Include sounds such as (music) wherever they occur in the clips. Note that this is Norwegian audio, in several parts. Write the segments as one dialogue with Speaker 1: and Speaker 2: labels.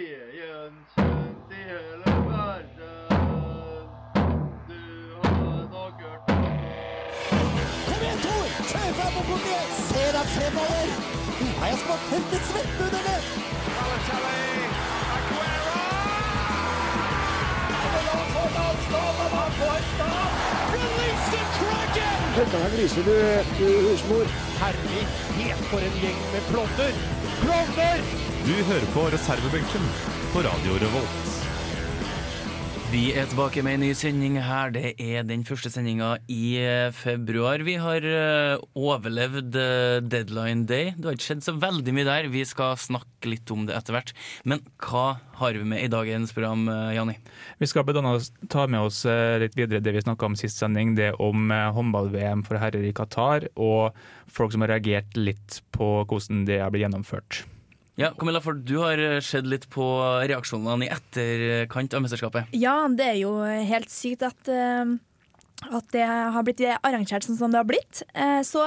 Speaker 1: Viljen kjent i hele verden. Du har nok hørt om
Speaker 2: Kom igjen, Tor! Kjør fram og bort igjen! Se deg fremover! Nå har jeg smakt tørket svette under det!
Speaker 3: Du hører på reservebenken på Radio Revolt.
Speaker 4: Vi er tilbake med en ny sending her. Det er den første sendinga i eh, februar. Vi har eh, overlevd eh, deadline day. Det har ikke skjedd så veldig mye der. Vi skal snakke litt om det etter hvert. Men hva har vi med i dagens program, eh, Janni?
Speaker 5: Vi skal blant annet ta med oss eh, litt videre det vi snakka om sist sending, det om eh, håndball-VM for herrer i Qatar, og folk som har reagert litt på hvordan det er blitt gjennomført.
Speaker 4: Ja, Camilla, for du har eh, sett litt på reaksjonene i etterkant av mesterskapet.
Speaker 6: Ja, det er jo helt sykt at, eh, at det har blitt arrangert sånn som det har blitt. Eh, Så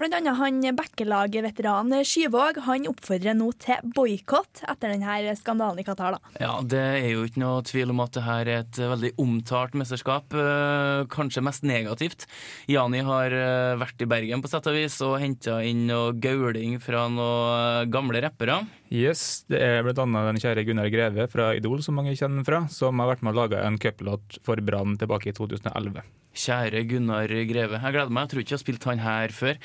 Speaker 6: blant annet han Bekkelaget-veteranen Skyvåg han oppfordrer nå til boikott etter denne skandalen i Qatar. da.
Speaker 4: Ja, Det er jo ikke noe tvil om at det her er et veldig omtalt mesterskap. eh, Kanskje mest negativt. Jani har eh, vært i Bergen på sett og vis og henta inn noe gauling fra noen eh, gamle rappere.
Speaker 5: Yes, Det er blant annet den kjære Gunnar Greve fra Idol, som mange kjenner fra, som har vært med å lage en cuplåt for Brann tilbake i 2011.
Speaker 4: Kjære Gunnar Greve, jeg gleder meg. Jeg tror ikke jeg har spilt han her før.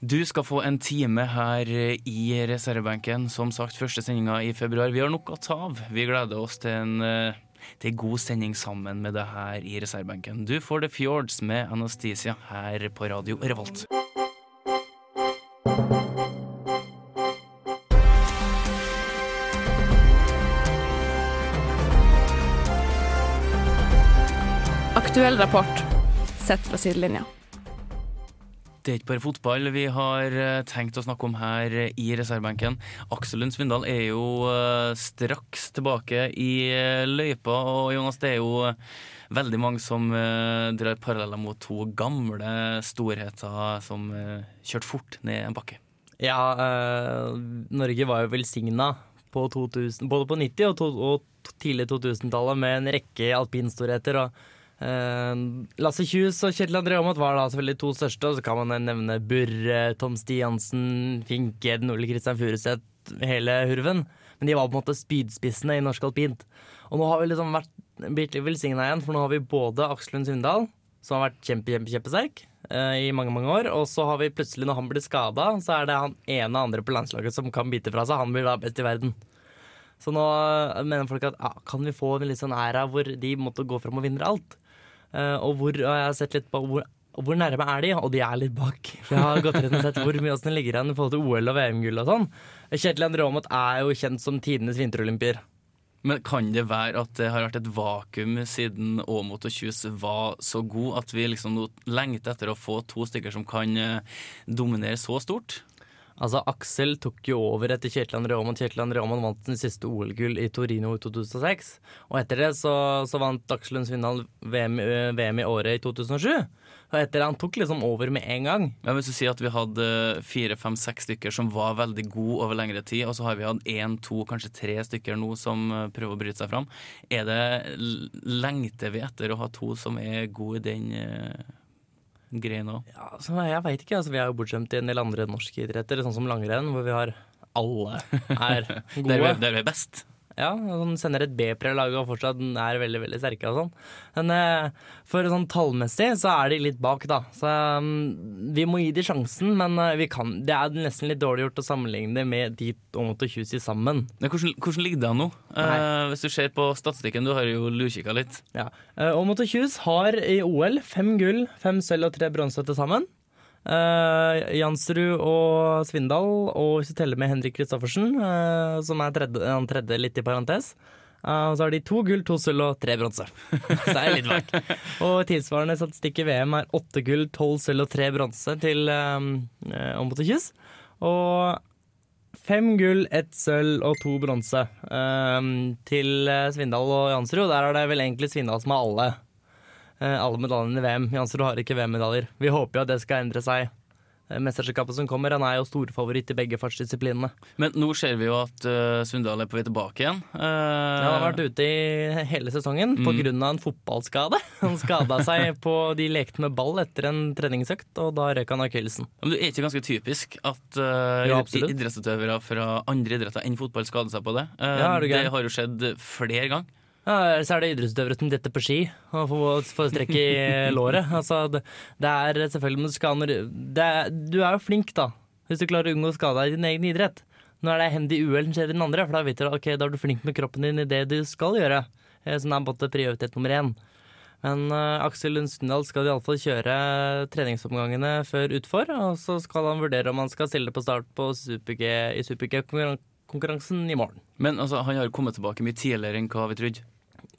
Speaker 4: Du skal få en time her eh, i reservebenken. Som sagt, første sendinga i februar. Vi har nok å ta av. Vi gleder oss til en eh, til en god sending sammen med deg her i reservebenken. Du får The Fjords med Anastasia her på Radio Revolt.
Speaker 7: Aktuell rapport sett fra sidelinja.
Speaker 4: Det er ikke bare fotball vi har eh, tenkt å snakke om her eh, i reservebenken. Aksel Lund Svindal er jo eh, straks tilbake i eh, løypa, og Jonas, det er jo eh, veldig mange som eh, drar paralleller mot to gamle storheter som eh, kjørte fort ned en bakke.
Speaker 8: Ja, eh, Norge var jo velsigna på 2000, både på 90- og, to, og tidlig 2000-tallet med en rekke alpinstorheter. og eh, Lasse Kjus og Kjetil André Aamodt var da selvfølgelig to største, og så kan man nevne Burre, Tom Stiansen, Finke, den Ole Kristian Furuseth, hele hurven. Men de var på en måte spydspissene i norsk alpint. Og nå har vi liksom vært blitt velsigna igjen, for nå har vi både Aksel Lund Svindal, som har vært kjempe, kjempe, kjempesterk eh, i mange mange år. Og så har vi plutselig, når han blir skada, så er det han ene andre på landslaget som kan bite fra seg. Han blir da best i verden. Så nå eh, mener folk at ja, kan vi få en litt sånn æra hvor de måtte gå fram og vinne alt? Eh, og hvor, og jeg har sett litt på hvor, hvor nærme er de, og de er litt bak. (laughs) Jeg har gått rett og sett hvor mye åssen det ligger an i forhold til OL og VM-gull og sånn. Kjetil André Aamodt er jo kjent som tidenes vinterolympier.
Speaker 4: Men kan det være at det har vært et vakuum siden Åmot og Kjus var så god at vi liksom nå lengter etter å få to stykker som kan eh, dominere så stort?
Speaker 8: Altså, Aksel tok jo over etter Kjetil André Aamodt. Kjetil André Aamodt vant sin siste OL-gull i Torino i 2006. Og etter det så, så vant Aksel Lund Svindal VM, eh, VM i året i 2007. Og etter det han tok liksom over med en gang.
Speaker 4: Ja, hvis du sier at vi hadde fire, fem, seks stykker som var veldig gode over lengre tid, og så har vi hatt én, to, kanskje tre stykker nå som eh, prøver å bryte seg fram, er det, l- lengter vi etter å ha to som er gode i den uh, greia nå?
Speaker 8: Ja, så jeg veit ikke. Altså, vi er jo bortskjemt i en del andre norske idretter, sånn som langrenn, hvor vi har alle er
Speaker 4: Der vi,
Speaker 8: gode.
Speaker 4: der vi er best?
Speaker 8: Ja, han sender et B-pre-lag og fortsatt er veldig veldig sterke. og sånn. Men eh, for sånn tallmessig så er de litt bak, da. Så mm, vi må gi de sjansen, men eh, vi kan, det er nesten litt dårlig gjort å sammenligne det med de og Moto Tjusi sammen.
Speaker 4: Men hvordan, hvordan ligger det an nå?
Speaker 8: Nei.
Speaker 4: Eh, hvis du ser på statistikken, du har jo lurkikka litt.
Speaker 8: Ja. Eh, Og Moto Tjus har i OL fem gull, fem sølv og tre bronse til sammen. Eh, Jansrud og Svindal, og hvis du teller med Henrik Kristoffersen, eh, som er tredje, han tredje litt i parentes, eh, så har de to gull, to sølv og tre bronse. Så det er litt vagt. Og tilsvarende statistikk i VM er åtte gull, tolv sølv og tre bronse til eh, Moto Tjus. Og Fem gull, ett sølv og to bronse ehm, til eh, Svindal og Jansrud. Der er det vel egentlig Svindal som har alle, eh, alle medaljene i VM. Jansrud har ikke VM-medaljer. Vi håper jo at det skal endre seg eh, mesterskapet som kommer. Han er jo storfavoritt i begge fartsdisiplinene.
Speaker 4: Men nå ser vi jo at eh, Sundal er på vei tilbake igjen. Eh,
Speaker 8: Han har vært ute i hele sesongen på
Speaker 4: Mm.
Speaker 8: pga. en fotballskade. (laughs) Han skada seg på De lekte med ball etter en treningsøkt, og da røk han akillesen.
Speaker 4: Men det er ikke ganske typisk at eh,
Speaker 8: Ja,
Speaker 4: id-
Speaker 8: absolutt.
Speaker 4: idrettsutøvere fra andre idretter enn fotball skader seg på det. Eh,
Speaker 8: Ja, er du
Speaker 4: det
Speaker 8: gæren?
Speaker 4: har jo skjedd flere ganger.
Speaker 8: Ja, så er det idrettsutøvere som detter på ski og får, får strekk i låret. Altså, det, det er selvfølgelig men du skal, når- det, er- Du er jo flink, da, hvis du klarer å unngå å skade deg i din egen idrett. Nå er det hendig uhell som skjer i den andre, for da vet du at ok, da er du flink med kroppen din i det du skal gjøre. Eh, Så det er både prioritet nummer én. Men eh, Aksel Lund Sundal skal iallfall kjøre treningsomgangene før utfor, og så skal han vurdere om han skal stille på start på super-G, i super-G-konkurransen i morgen.
Speaker 4: Men altså, han har jo kommet tilbake mye tidligere enn hva vi trodde.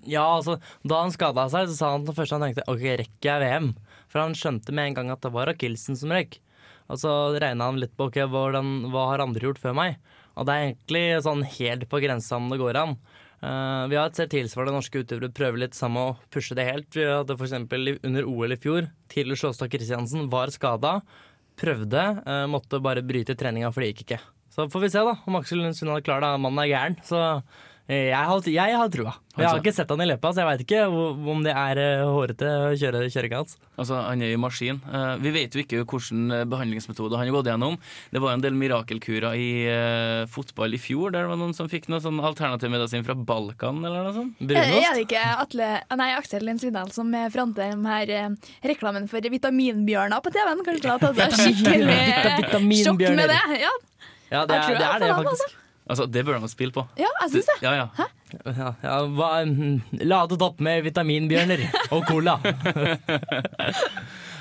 Speaker 8: Ja, altså, da han skada seg, så sa han at det første han tenkte ok, rekker jeg VM? For han skjønte med en gang at det var Akilsen som røyk. Og så regna han litt på ok, hvordan, hva har andre gjort før meg? Og det er egentlig sånn helt på grensa om det går an. Eh, vi har sett tilsvarende norske utøvere prøve litt samme å pushe det helt. Vi hadde for eksempel i- under OL i fjor, Tidlig Sjåstad Kristiansen var skada, prøvde, eh, måtte bare bryte treninga, for det gikk ikke. Så får vi se da, om Aksel Lund Sundal klarer det. Mannen er gæren. Så eh, jeg har, jeg har trua. Jeg
Speaker 6: Altså-
Speaker 8: har ikke sett han i løpet, så jeg veit ikke hvor- om det er eh, hårete kjøre- kjøringa hans.
Speaker 4: Altså, Han er i maskin. Eh, vi vet jo ikke hvilken eh, behandlingsmetode han har gått gjennom. Det var en del mirakelkurer i eh, fotball i fjor, der det var noen som fikk noe sånn alternativ medisin fra Balkan eller noe sånt.
Speaker 6: Eh,
Speaker 8: Brunost?
Speaker 6: Er det ikke Atle, nei, Aksel Lund Svindal som eh, fronter de her eh, reklamen for vitaminbjørner på TV-en? Kanskje han har tatt seg skikkelig sjokk
Speaker 8: Vitaminbjørner.
Speaker 6: med det? Ja,
Speaker 8: Ja, det
Speaker 6: jeg
Speaker 8: er
Speaker 6: tror
Speaker 8: det,
Speaker 6: jeg
Speaker 8: er det
Speaker 6: får han,
Speaker 8: faktisk.
Speaker 4: Altså, Det burde de spille på.
Speaker 6: ja jeg syns det.
Speaker 4: Ja, ja.
Speaker 8: Ja, ja, hva, mm, ladet opp med vitaminbjørner og (laughs) cola.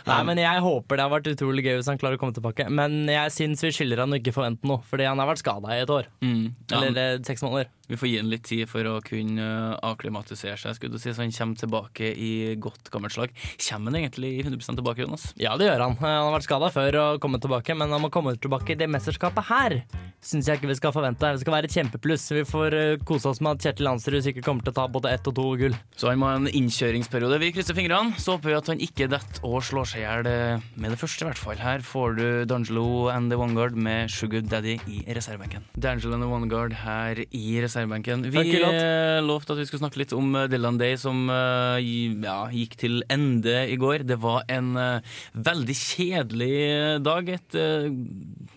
Speaker 8: Nei, men Jeg håper det har vært utrolig gøy hvis han klarer å komme tilbake. Men jeg syns vi skylder han å ikke forvente noe, fordi han har vært skada i et år.
Speaker 4: Mm. ja men
Speaker 8: Eller eh, seks måneder.
Speaker 4: vi får gi ham litt tid for å kunne eh, akklimatisere seg, skulle du si, så han kommer tilbake i godt gammelt slag. Kommer han egentlig i 100 tilbake, Jonas?
Speaker 8: Ja, det gjør han. Eh, Han har vært skada før og kommet tilbake, men han må komme tilbake i det mesterskapet her. Syns jeg ikke vi skal forvente. Det skal være et kjempepluss. Vi får eh, kose oss med at Kjetil Hansrud sikkert kommer til å ta både ett og to gull.
Speaker 4: Så han må ha en innkjøringsperiode. Vi krysser fingrene. Så håper vi at han ikke detter og slår seg i hjel eh, med det første, i hvert fall. Her får du D'Angelo and The Vanguard med Sugar Daddy i reservebenken. D'Angelo and The Vanguard her i reservebenken. Vi
Speaker 8: Takk, Lot.
Speaker 4: eh, lovte at vi skulle snakke litt om eh, Dylan Day, som eh, gi- ja, gikk til ende i går. Det var en eh, veldig kjedelig eh, dag. Et eh,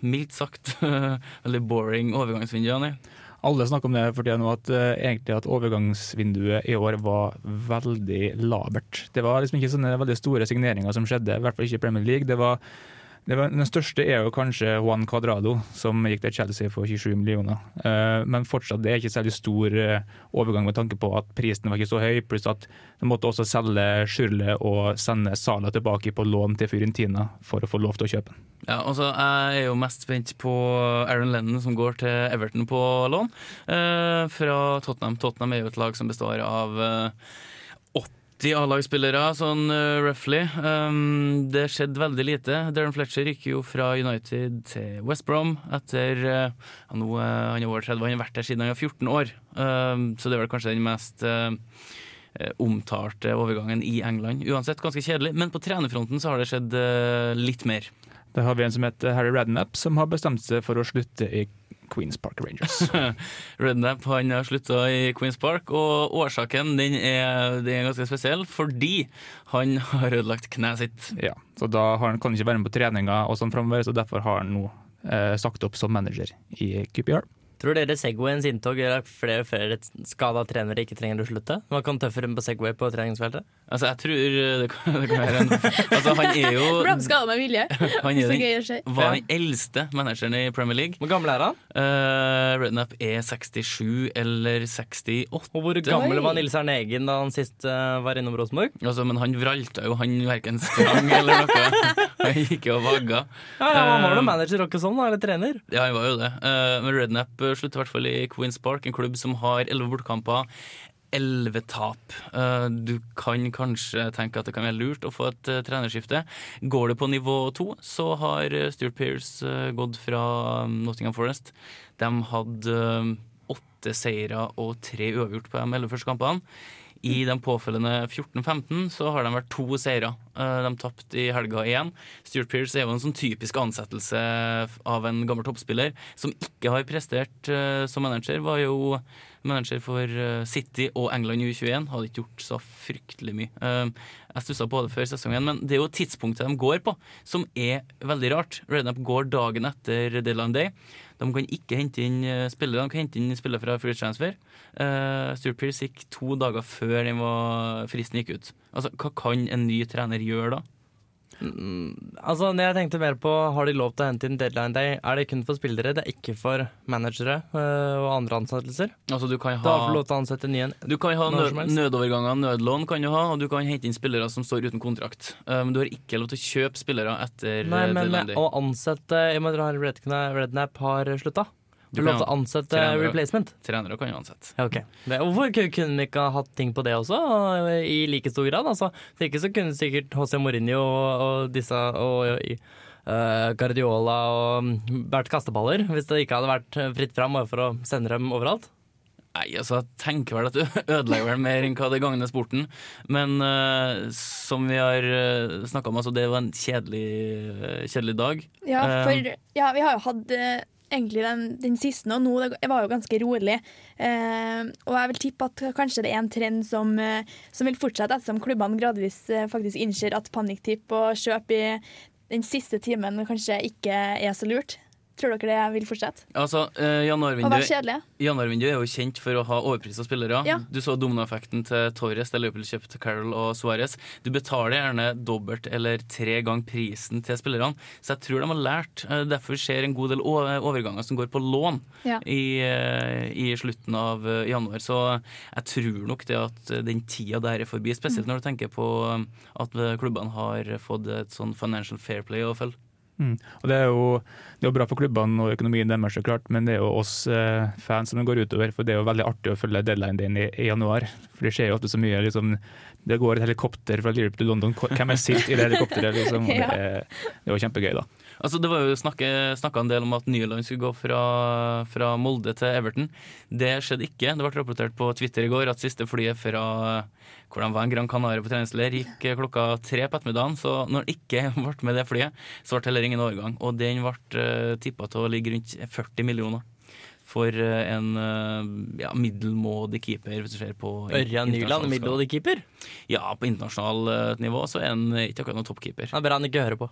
Speaker 4: mildt sagt (laughs) veldig boring overgangsvindu, Anni.
Speaker 5: Alle snakker om det for tida nå, at, eh, egentlig at overgangsvinduet i år var veldig labert. Det var liksom ikke sånne veldig store signeringer som skjedde, i hvert fall ikke i Premier League. Det var, det var, den største er jo kanskje Juan Cuadrado, som gikk til Chelsea for 27 millioner. Eh, men fortsatt, det er ikke særlig stor eh, overgang med tanke på at prisen var ikke så høy, pluss at de måtte også selge Schürrle og sende Sala tilbake på lån til Fyrentina for å få lov til å kjøpe den.
Speaker 4: Ja, altså, Jeg er jo mest spent på Aaron Lennon som går til Everton på lån. Eh, fra Tottenham. Tottenham er jo et lag som består av eh, 80 A-lagsspillere, sånn eh, roughly. Um, det skjedde veldig lite. Darren Fletcher gikk jo fra United til West Brom etter eh, ja, nå, eh, Han er over 30, han har vært der siden han var 14 år. Um, så det er vel kanskje den mest eh, eh, omtalte overgangen i England. Uansett ganske kjedelig, men på trenerfronten så har det skjedd eh, litt mer.
Speaker 5: Der har vi en som heter Harry Radnap, som har bestemt seg for å slutte i Queens Park Rangers.
Speaker 4: Rednap han har slutta i Queens Park, og årsaken den er, den er ganske spesiell, fordi han har ødelagt kneet sitt.
Speaker 5: Ja, så da har han, kan han ikke være med på treninga og sånn framover, så derfor har han nå eh, sagt opp som manager i QPR.
Speaker 8: Tror dere Segwayens inntog gjør at flere og flere skada trenere ikke trenger å slutte? Man kan tøffere enn på Segway på treningsfeltet?
Speaker 4: Altså, jeg tror det kan, det kan være en Altså, han er jo
Speaker 6: (laughs) Ble de skada med vilje?
Speaker 4: han er
Speaker 6: Så
Speaker 4: den,
Speaker 6: gøy å se.
Speaker 4: var den eldste manageren i Premier League.
Speaker 8: Hvor gammel er han?
Speaker 4: Uh, Rednap er 67 eller 68,
Speaker 8: Og hvor gammel var Nils Arne Eggen da han sist eh, var innom Rosenborg?
Speaker 4: altså, men han vralta jo, han verken sprang eller noe. Han gikk jo og vagga.
Speaker 8: Ja, ja, Han var
Speaker 4: Eh,
Speaker 8: vel manager og ikke sånn, da, eller trener?
Speaker 4: Ja, han var jo det. Eh, Men Rednap eh, slutter i hvert fall i Queens Park, en klubb som har elleve bortekamper. Elleve tap. Eh, Du kan kanskje tenke at det kan være lurt å få et eh, trenerskifte. Går du på nivå to, så har eh, Stuart Pearce eh, gått fra eh, Nottingham Forest. mm, De hadde eh, åtte seire og tre uavgjort på de elleve første kampene. I de påfølgende 14-15 så har de vært to seire. Eh, De tapte i helga igjen. Stuart Pearce er jo en sånn typisk ansettelse av en gammel toppspiller som ikke har prestert eh, som manager. Var jo manager for eh, City og England U21. Hadde ikke gjort så fryktelig mye. Eh, Jeg stussa på det før sesongen, men det er jo tidspunktet de går på, som er veldig rart. Rednup går dagen etter deadline day. De kan ikke hente inn eh, spillere. De kan hente inn spillere fra free transfer. Eh, Stuart Pearce gikk to dager før den var, fristen gikk ut. Altså, Hva kan en ny trener gjøre da?
Speaker 8: Altså, det jeg tenkte mer på, har de lov til å hente inn deadline day? Er det kun for spillere, det er ikke for managere øh, og andre ansettelser?
Speaker 4: Altså, Du kan
Speaker 8: Da får du
Speaker 4: ha,
Speaker 8: lov til å ansette ny en.
Speaker 4: du kan ha
Speaker 8: når
Speaker 4: nød,
Speaker 8: som helst.
Speaker 4: nødoverganger, nødlån, kan du ha, og du kan hente inn spillere som står uten kontrakt. Eh, Men du har ikke lov til å kjøpe spillere etter
Speaker 8: Nei,
Speaker 4: eh,
Speaker 8: men
Speaker 4: deadline day.
Speaker 8: å ansette I og med at Harry Redkna- Redknapp har slutta. Du
Speaker 4: Du
Speaker 8: har
Speaker 4: kan
Speaker 8: lov til å ansette
Speaker 4: trenere.
Speaker 8: replacement.
Speaker 4: Trenere kan jo ansette.
Speaker 8: Ja, ok. Det, hvorfor ku- kunne vi ikke ha hatt ting på det også, og eh, i like stor grad? Altså, Hvis ikke så kunne sikkert José Mourinho og, og disse og, og eh, Guardiola og mm, vært kasteballer, hvis det ikke hadde vært fritt fram bare for å sende dem overalt.
Speaker 4: Nei, altså, jeg tenker vel at du (laughs) ødelegger vel mer enn hva det gagner sporten. Men eh, som vi har uh, snakka om, altså, det var en kjedelig, eh, kjedelig dag.
Speaker 6: Ja,
Speaker 4: Eh,
Speaker 6: for ja, vi har jo hatt eh, egentlig den, den siste, og nå det var jo ganske rolig. Eh, og jeg vil tippe at kanskje det er en trend som, eh, som vil fortsette, ettersom klubbene gradvis eh, faktisk innser at panikktipp og kjøp i den siste timen kanskje ikke er så lurt. Tror dere det vil fortsette?
Speaker 4: Altså, eh,
Speaker 6: Å være
Speaker 4: januarvinduet,
Speaker 6: kjedelig?
Speaker 4: januarvinduet er jo kjent for å ha overprisa spillere.
Speaker 6: Ja.
Speaker 4: Du så dominoeffekten til Torres da Liverpool kjøpte Carroll og Suárez. Du betaler gjerne dobbelt eller tre ganger prisen til spillerne, så jeg tror de har lært. Eh, derfor skjer en god del o- overganger som går på lån.
Speaker 6: Ja.
Speaker 4: i, eh, i slutten av eh, januar. Så jeg tror nok det at eh, den tida der er forbi, spesielt
Speaker 6: Mm.
Speaker 4: når du tenker på eh, at eh, klubbene har fått et sånn financial fair play å følge.
Speaker 5: Og det er jo det er jo bra for klubbene og økonomien deres, så klart, men det er jo oss eh, fans som det går utover. For det er jo veldig artig å følge deadline din i, i januar. For det skjer jo ofte så mye. liksom, Det går et helikopter fra Liverpool til London. Hvor- Hvem er sist i det helikopteret?
Speaker 8: (laughs)
Speaker 5: liksom, og
Speaker 6: Ja.
Speaker 5: Det, er- det var kjempegøy, da.
Speaker 4: Altså, det var jo snakka en del om at Nyland skulle gå fra, fra Molde til Everton. Det skjedde ikke. Det ble rapportert på Twitter i går at siste flyet fra eh, hvor de var en Gran Canaria på treningsleir, gikk eh, klokka tre på ettermiddagen. Så når det ikke (laughs) ble med det flyet, så ble det heller ingen overgang. Og den ble tippa til å ligge rundt 40 millioner. For eh, en eh, ja, middelmådig keeper, hvis du ser på
Speaker 8: Ørjan
Speaker 4: internasjonal
Speaker 8: Nyland,
Speaker 4: skala.
Speaker 8: middelmådig keeper.
Speaker 4: Ja, på internasjonalt eh, nivå så er han ikke akkurat noen toppkeeper.
Speaker 8: Det er bra han ikke hører på.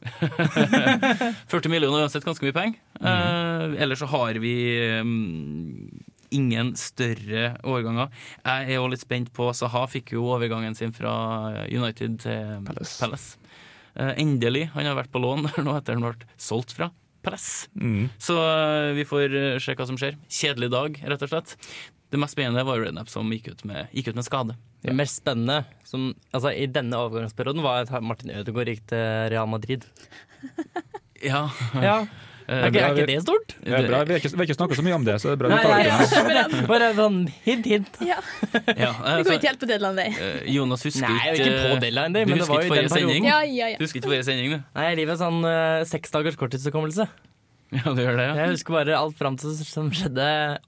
Speaker 4: 40 millioner er uansett ganske mye penger. Eh, ellers så har vi mm, ingen større overganger. Jeg er jo litt spent på Saha. Fikk jo overgangen sin fra United til Palace.
Speaker 5: Palace.
Speaker 4: Eh, endelig. Han har vært på lån (laughs) der nå etter han ble solgt fra Palace.
Speaker 5: Mm.
Speaker 4: Så eh, vi får eh, se hva som skjer. Kjedelig dag, rett og slett. Det mest spennende var jo Rednap som gikk ut med, gikk ut med skade.
Speaker 8: Det mest spennende som, altså, i denne overgangsperioden var at Martin Ødegaard gikk til Real Madrid.
Speaker 4: Ja,
Speaker 8: Ja,
Speaker 4: eh,
Speaker 8: Er ikke, er
Speaker 5: bra.
Speaker 8: ikke det stort?
Speaker 5: Det er bra. Vi har ikke, vi har ikke snakka så mye om det, så det er bra
Speaker 8: Nei,
Speaker 5: vi tar
Speaker 8: nei,
Speaker 5: det.
Speaker 8: nei. (laughs) Bare sånn hint, hint.
Speaker 6: Ja,
Speaker 4: ja,
Speaker 6: Vi
Speaker 4: eh,
Speaker 6: går
Speaker 4: så,
Speaker 6: ikke helt på deadline day.
Speaker 4: eh, Jonas husker
Speaker 8: Nei, jeg er ikke på deadline
Speaker 4: eh, du
Speaker 8: day, men det
Speaker 4: husker
Speaker 8: var
Speaker 4: ikke
Speaker 8: jo i den
Speaker 4: forrige
Speaker 8: perioden.
Speaker 4: sending?
Speaker 6: Ja, ja,
Speaker 4: Du
Speaker 6: ja.
Speaker 4: husker ikke forrige sending, du?
Speaker 8: Nei, livet er sånn eh, seks dagers korttidshukommelse.
Speaker 4: Ja, du gjør det, ja.
Speaker 8: Jeg husker bare alt fram til som skjedde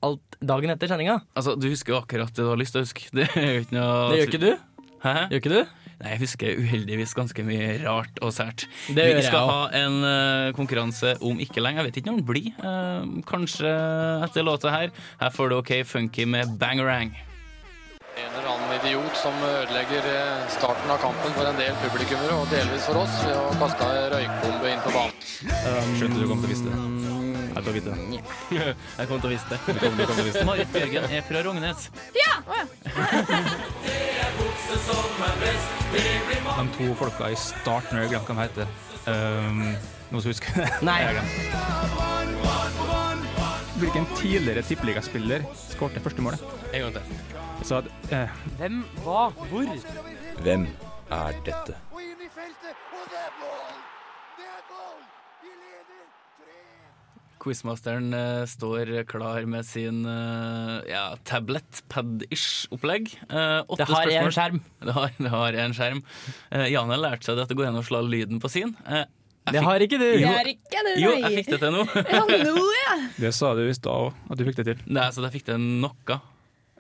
Speaker 8: alt dagen etter sendinga.
Speaker 4: Altså, du husker jo akkurat det du har lyst til å huske. (laughs) Det er jo ikke noe
Speaker 8: Det gjør ikke du?
Speaker 4: Hæ?
Speaker 8: Gjør ikke du?
Speaker 4: Nei, jeg husker uheldigvis ganske mye rart og sært.
Speaker 8: Det gjør
Speaker 4: Vi
Speaker 8: jeg
Speaker 4: skal
Speaker 8: også.
Speaker 4: ha en eh, konkurranse om ikke lenge. Jeg vet ikke når den blir. Eh, kanskje etter låta her. Her får du OK Funky med Bangarang.
Speaker 9: En eller annen idiot som ødelegger eh, starten av kampen for en del publikummere, og delvis for oss, ved å kaste ei røykbombe inn på banen.
Speaker 3: Skjønte du kom til å vite det. Jeg tar vite det.
Speaker 4: (laughs) Jeg kom til å vise det.
Speaker 3: Du kom, du kom til å vite det.
Speaker 4: Marit Bjørgen er fra Rognes.
Speaker 5: De to folka i starten, jeg glemte hva de heter. Um, noen som husker det? (laughs)
Speaker 8: Nei.
Speaker 5: Jeg har glemt. Hvilken tidligere tippeligaspiller skåret det første målet?
Speaker 4: En gang til.
Speaker 5: Jeg sa at eh,
Speaker 8: Hvem, hva, hvor?
Speaker 10: Hvem er dette?
Speaker 4: Quizmasteren eh, står klar med sin eh, ja, tablet-pad-ish-opplegg. Eh, åtte
Speaker 8: Det har
Speaker 4: spørsmål.
Speaker 8: en skjerm.
Speaker 4: Det har, det har en skjerm. Uh, Jane lærte seg det at det går an å slå lyden på sin. Eh, jeg
Speaker 8: Det
Speaker 4: fikk-
Speaker 8: har ikke du.
Speaker 6: Det er ikke det,
Speaker 4: Jo, jeg fikk
Speaker 6: nei.
Speaker 4: det til nå. (laughs)
Speaker 6: Ja, nå, ja.
Speaker 5: Det sa du i stad òg, at du fikk det til.
Speaker 4: altså, Nei, så jeg fikk det noe.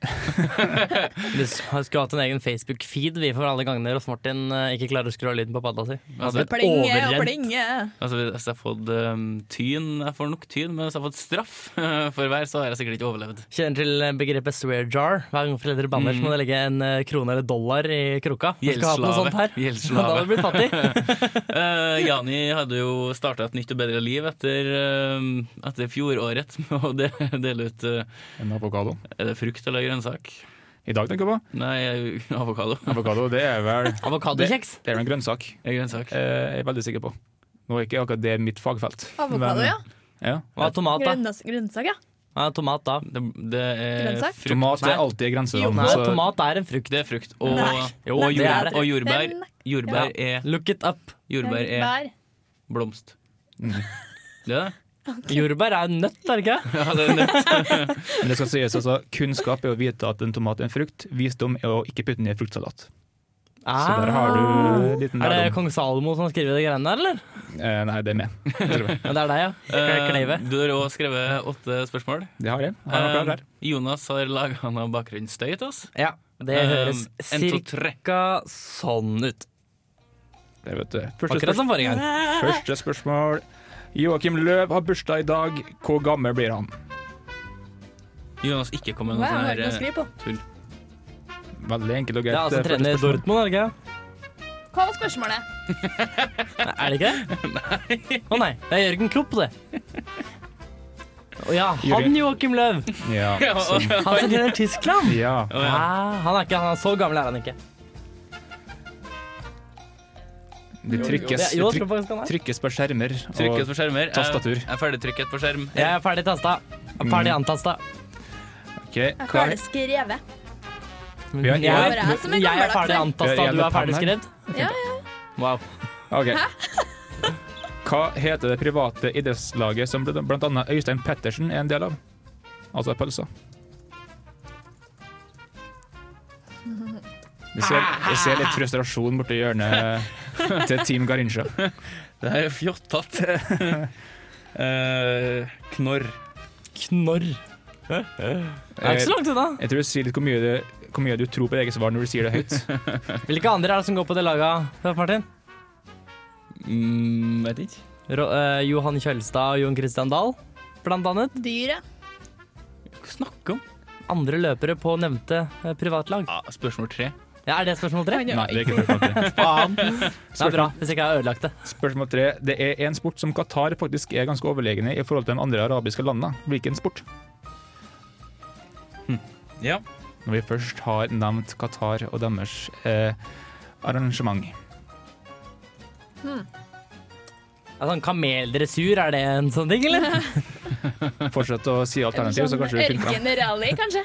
Speaker 8: Vi skulle hatt en egen Facebook-feed Vi for alle gangene Ross Martin eh, ikke klarer å skru av lyden på padda si.
Speaker 4: (laughs)
Speaker 8: Han
Speaker 4: Altså,
Speaker 8: blir
Speaker 6: Plinge og
Speaker 8: overrent.
Speaker 6: plinge.
Speaker 4: Altså, hvis jeg har fått ehm, tyn Jeg får nok tyn, men hvis jeg har fått straff eh, for hver, så har jeg sikkert ikke overlevd.
Speaker 8: Kjenner til begrepet swear jar. Hver gang foreldre banner, så må du legge en eh, krone eller dollar i krukka. Vi skal ha på noe sånt her. (laughs)
Speaker 4: Gjeldsslave.
Speaker 8: Da hadde du blitt fattig.
Speaker 4: (laughs) Eh, Jani hadde jo starta et nytt og bedre liv etter, ehm, etter fjoråret med å de- dele ut eh,
Speaker 5: En avokado.
Speaker 4: Er det frukt eller grønnsak?
Speaker 5: I dag tenker jeg på.
Speaker 4: Nei, eh,
Speaker 8: (laughs)
Speaker 4: avokado.
Speaker 5: Avokado det er vel
Speaker 8: Avokadokjeks.
Speaker 5: (laughs) Det er vel en grønnsak.
Speaker 4: Eh, Grønnsak.
Speaker 5: Eh, jeg er veldig sikker på. Nå er ikke akkurat det mitt fagfelt.
Speaker 6: Avokado,
Speaker 5: Men-
Speaker 6: ja.
Speaker 5: ja.
Speaker 8: Hva er tomat, da?
Speaker 6: Grønnas- Grønnsak, ja.
Speaker 8: Hva er tomat, da?
Speaker 4: Det, det er
Speaker 6: Grønnsak?
Speaker 4: frukt.
Speaker 5: Tomat er
Speaker 4: Nei,
Speaker 5: alltid altså. i
Speaker 6: Jo,
Speaker 5: grenseland.
Speaker 8: Nei,
Speaker 5: så-
Speaker 8: tomat er en frukt.
Speaker 4: Det er frukt. Og,
Speaker 6: Nei.
Speaker 4: og,
Speaker 8: Nei, det er
Speaker 4: jordbær,
Speaker 8: det.
Speaker 4: og jordbær,
Speaker 6: Den-
Speaker 4: jordbær er
Speaker 8: Look it up.
Speaker 4: Jordbær er
Speaker 6: Bær.
Speaker 4: blomst. Det er det?
Speaker 8: Jordbær er nøtt, er det ikke?
Speaker 4: Ja, det er nøtt.
Speaker 5: Men det skal sies altså, kunnskap er å vite at en tomat er en frukt. Visdom er å ikke putte den i en fruktsalat. Så der har du en liten
Speaker 8: Ah. Er det
Speaker 5: lærdom.
Speaker 8: kong Salomo som har skrevet de greiene der, eller?
Speaker 5: Eh, nei, det er med.
Speaker 8: Ja, det er deg, ja. Kleive.
Speaker 4: Eh, Du har òg skrevet åtte spørsmål.
Speaker 5: Det har jeg. Har jeg klart
Speaker 4: Eh, Jonas har laga noe bakgrunnsstøy til oss.
Speaker 8: Ja, det
Speaker 4: Eh,
Speaker 8: høres
Speaker 4: en, to, tre.
Speaker 8: cirka sånn ut.
Speaker 5: der. Det vet du. Første,
Speaker 8: Akkurat
Speaker 5: spørsmål.
Speaker 8: som forrige gang.
Speaker 5: Første spørsmål. Joakim Løv har bursdag i dag. Hvor gammel blir han?
Speaker 4: Jonas ikke kom med
Speaker 6: Wow,
Speaker 4: noe
Speaker 6: jeg
Speaker 4: sånn her
Speaker 6: har ikke noe å
Speaker 4: eh,
Speaker 6: skrive på.
Speaker 4: tull.
Speaker 5: Veldig enkelt og greit.
Speaker 8: Det er altså
Speaker 5: eh, første
Speaker 8: trener i
Speaker 5: spørsmål.
Speaker 8: Dortmund, er det ikke?
Speaker 6: Hva var spørsmålet?
Speaker 8: Er det ikke? Nei. Å nei, det er Jørgen Klopp, det. Å ja, han
Speaker 5: Jørgen.
Speaker 8: Joakim Løv.
Speaker 5: Ja, sånn.
Speaker 8: Han som trener Tyskland.
Speaker 5: ja.
Speaker 8: Ah, han er ikke han er så gammel, er han ikke.
Speaker 5: Det
Speaker 8: Jo,
Speaker 5: trykkes,
Speaker 8: jo, jeg
Speaker 5: tryk,
Speaker 8: tror faktisk han er.
Speaker 5: trykkes på skjermer.
Speaker 4: Trykkes
Speaker 5: Og
Speaker 4: på skjermer. Jeg-
Speaker 5: tastatur.
Speaker 4: Jeg er ferdigtrykket på skjerm.
Speaker 8: Jeg er ferdig tasta. Ferdig antasta.
Speaker 5: Ok,
Speaker 6: Jeg
Speaker 5: hva-
Speaker 6: føler skrevet.
Speaker 5: Vi har-
Speaker 8: Jeg,
Speaker 5: Ja,
Speaker 6: det er jeg som er
Speaker 8: jeg er
Speaker 6: gammel,
Speaker 8: ferdig
Speaker 6: Aksel.
Speaker 8: antasta,
Speaker 5: Ja, jeg
Speaker 8: du
Speaker 5: ble
Speaker 8: er ferdig
Speaker 5: pann her.
Speaker 8: skrevet.
Speaker 6: Ja,
Speaker 8: Wow.
Speaker 5: Ok. Hva heter det private idrettslaget som bl- blant annet Øystein Pettersen er en del av? Altså pølsa. Jeg ser, jeg ser litt frustrasjon borti hjørnet til Team Garincha.
Speaker 4: Det her er fjottete. Eh, knorr.
Speaker 8: Knorr. Det er ikke så
Speaker 5: Jeg,
Speaker 8: langt unna.
Speaker 5: jeg tror du sier litt hvor mye, det- hvor mye du tror på eget svar når du sier det høyt.
Speaker 8: Eh, Hvilke andre er det som går på det laget, Ralf Martin?
Speaker 4: Mm, vet ikke.
Speaker 8: Ro, eh, Johan Kjølstad og Jon Christian Dahl, blant annet.
Speaker 6: Dyret.
Speaker 4: Hva snakker du om?
Speaker 8: Andre løpere på nevnte eh, privatlag.
Speaker 4: Ja, spørsmål tre.
Speaker 8: Ja, er det spørsmål tre?
Speaker 5: Nei, det er ikke spørsmål tre.
Speaker 8: Faen. Det er bra, hvis ikke jeg har ødelagt det.
Speaker 5: Spørsmål tre. Det er en sport som Qatar faktisk er ganske overlegne i forhold til de andre arabiske landene. Hvilken sport?
Speaker 4: Ja.
Speaker 5: når vi først har nevnt Qatar og deres eh, arrangement.
Speaker 8: Ja, sånn Kameldressur, er det en sånn ting, eller?
Speaker 5: Fortsett å si alternativ, så kanskje vi finner fram.
Speaker 6: Ørkenrally, kanskje?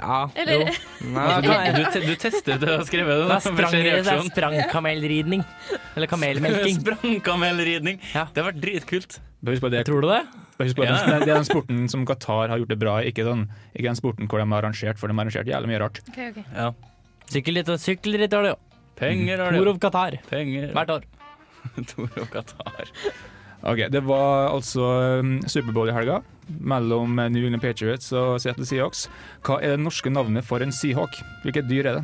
Speaker 8: Ja.
Speaker 6: Eller-
Speaker 8: jo. Nei,
Speaker 4: Altså,
Speaker 8: da kan
Speaker 4: du,
Speaker 8: jeg-
Speaker 4: du, te- du testet det og skrev det.
Speaker 8: da
Speaker 4: da,
Speaker 8: sprang
Speaker 4: for å se
Speaker 8: det er
Speaker 4: reaksjonen.
Speaker 8: sprangkamelridning.
Speaker 4: (laughs)
Speaker 8: Eller kamelmelking.
Speaker 4: Sprangkamelridning.
Speaker 8: Ja.
Speaker 4: Det har vært dritkult.
Speaker 5: Bare Husk på det,
Speaker 8: Tror du det?
Speaker 5: bare husk på det.
Speaker 4: Ja.
Speaker 5: Det er- det er den sporten som Qatar har gjort det bra i, ikke den, ikke den sporten hvor de har arrangert, for de har arrangert jævlig mye rart.
Speaker 6: (laughs) Ok, ok.
Speaker 4: Ja.
Speaker 8: Sykkelritt og sykkelritt har det jo.
Speaker 4: Penger har
Speaker 8: Tour
Speaker 4: det.
Speaker 8: of Qatar
Speaker 4: Penger.
Speaker 8: hvert år.
Speaker 4: Tor og Qatar.
Speaker 5: Ok, Det var altså mm, Superbowl i helga mellom New England Patriots og Seattle Seahawks. Hva er det norske navnet for en seahawk? Hvilket dyr er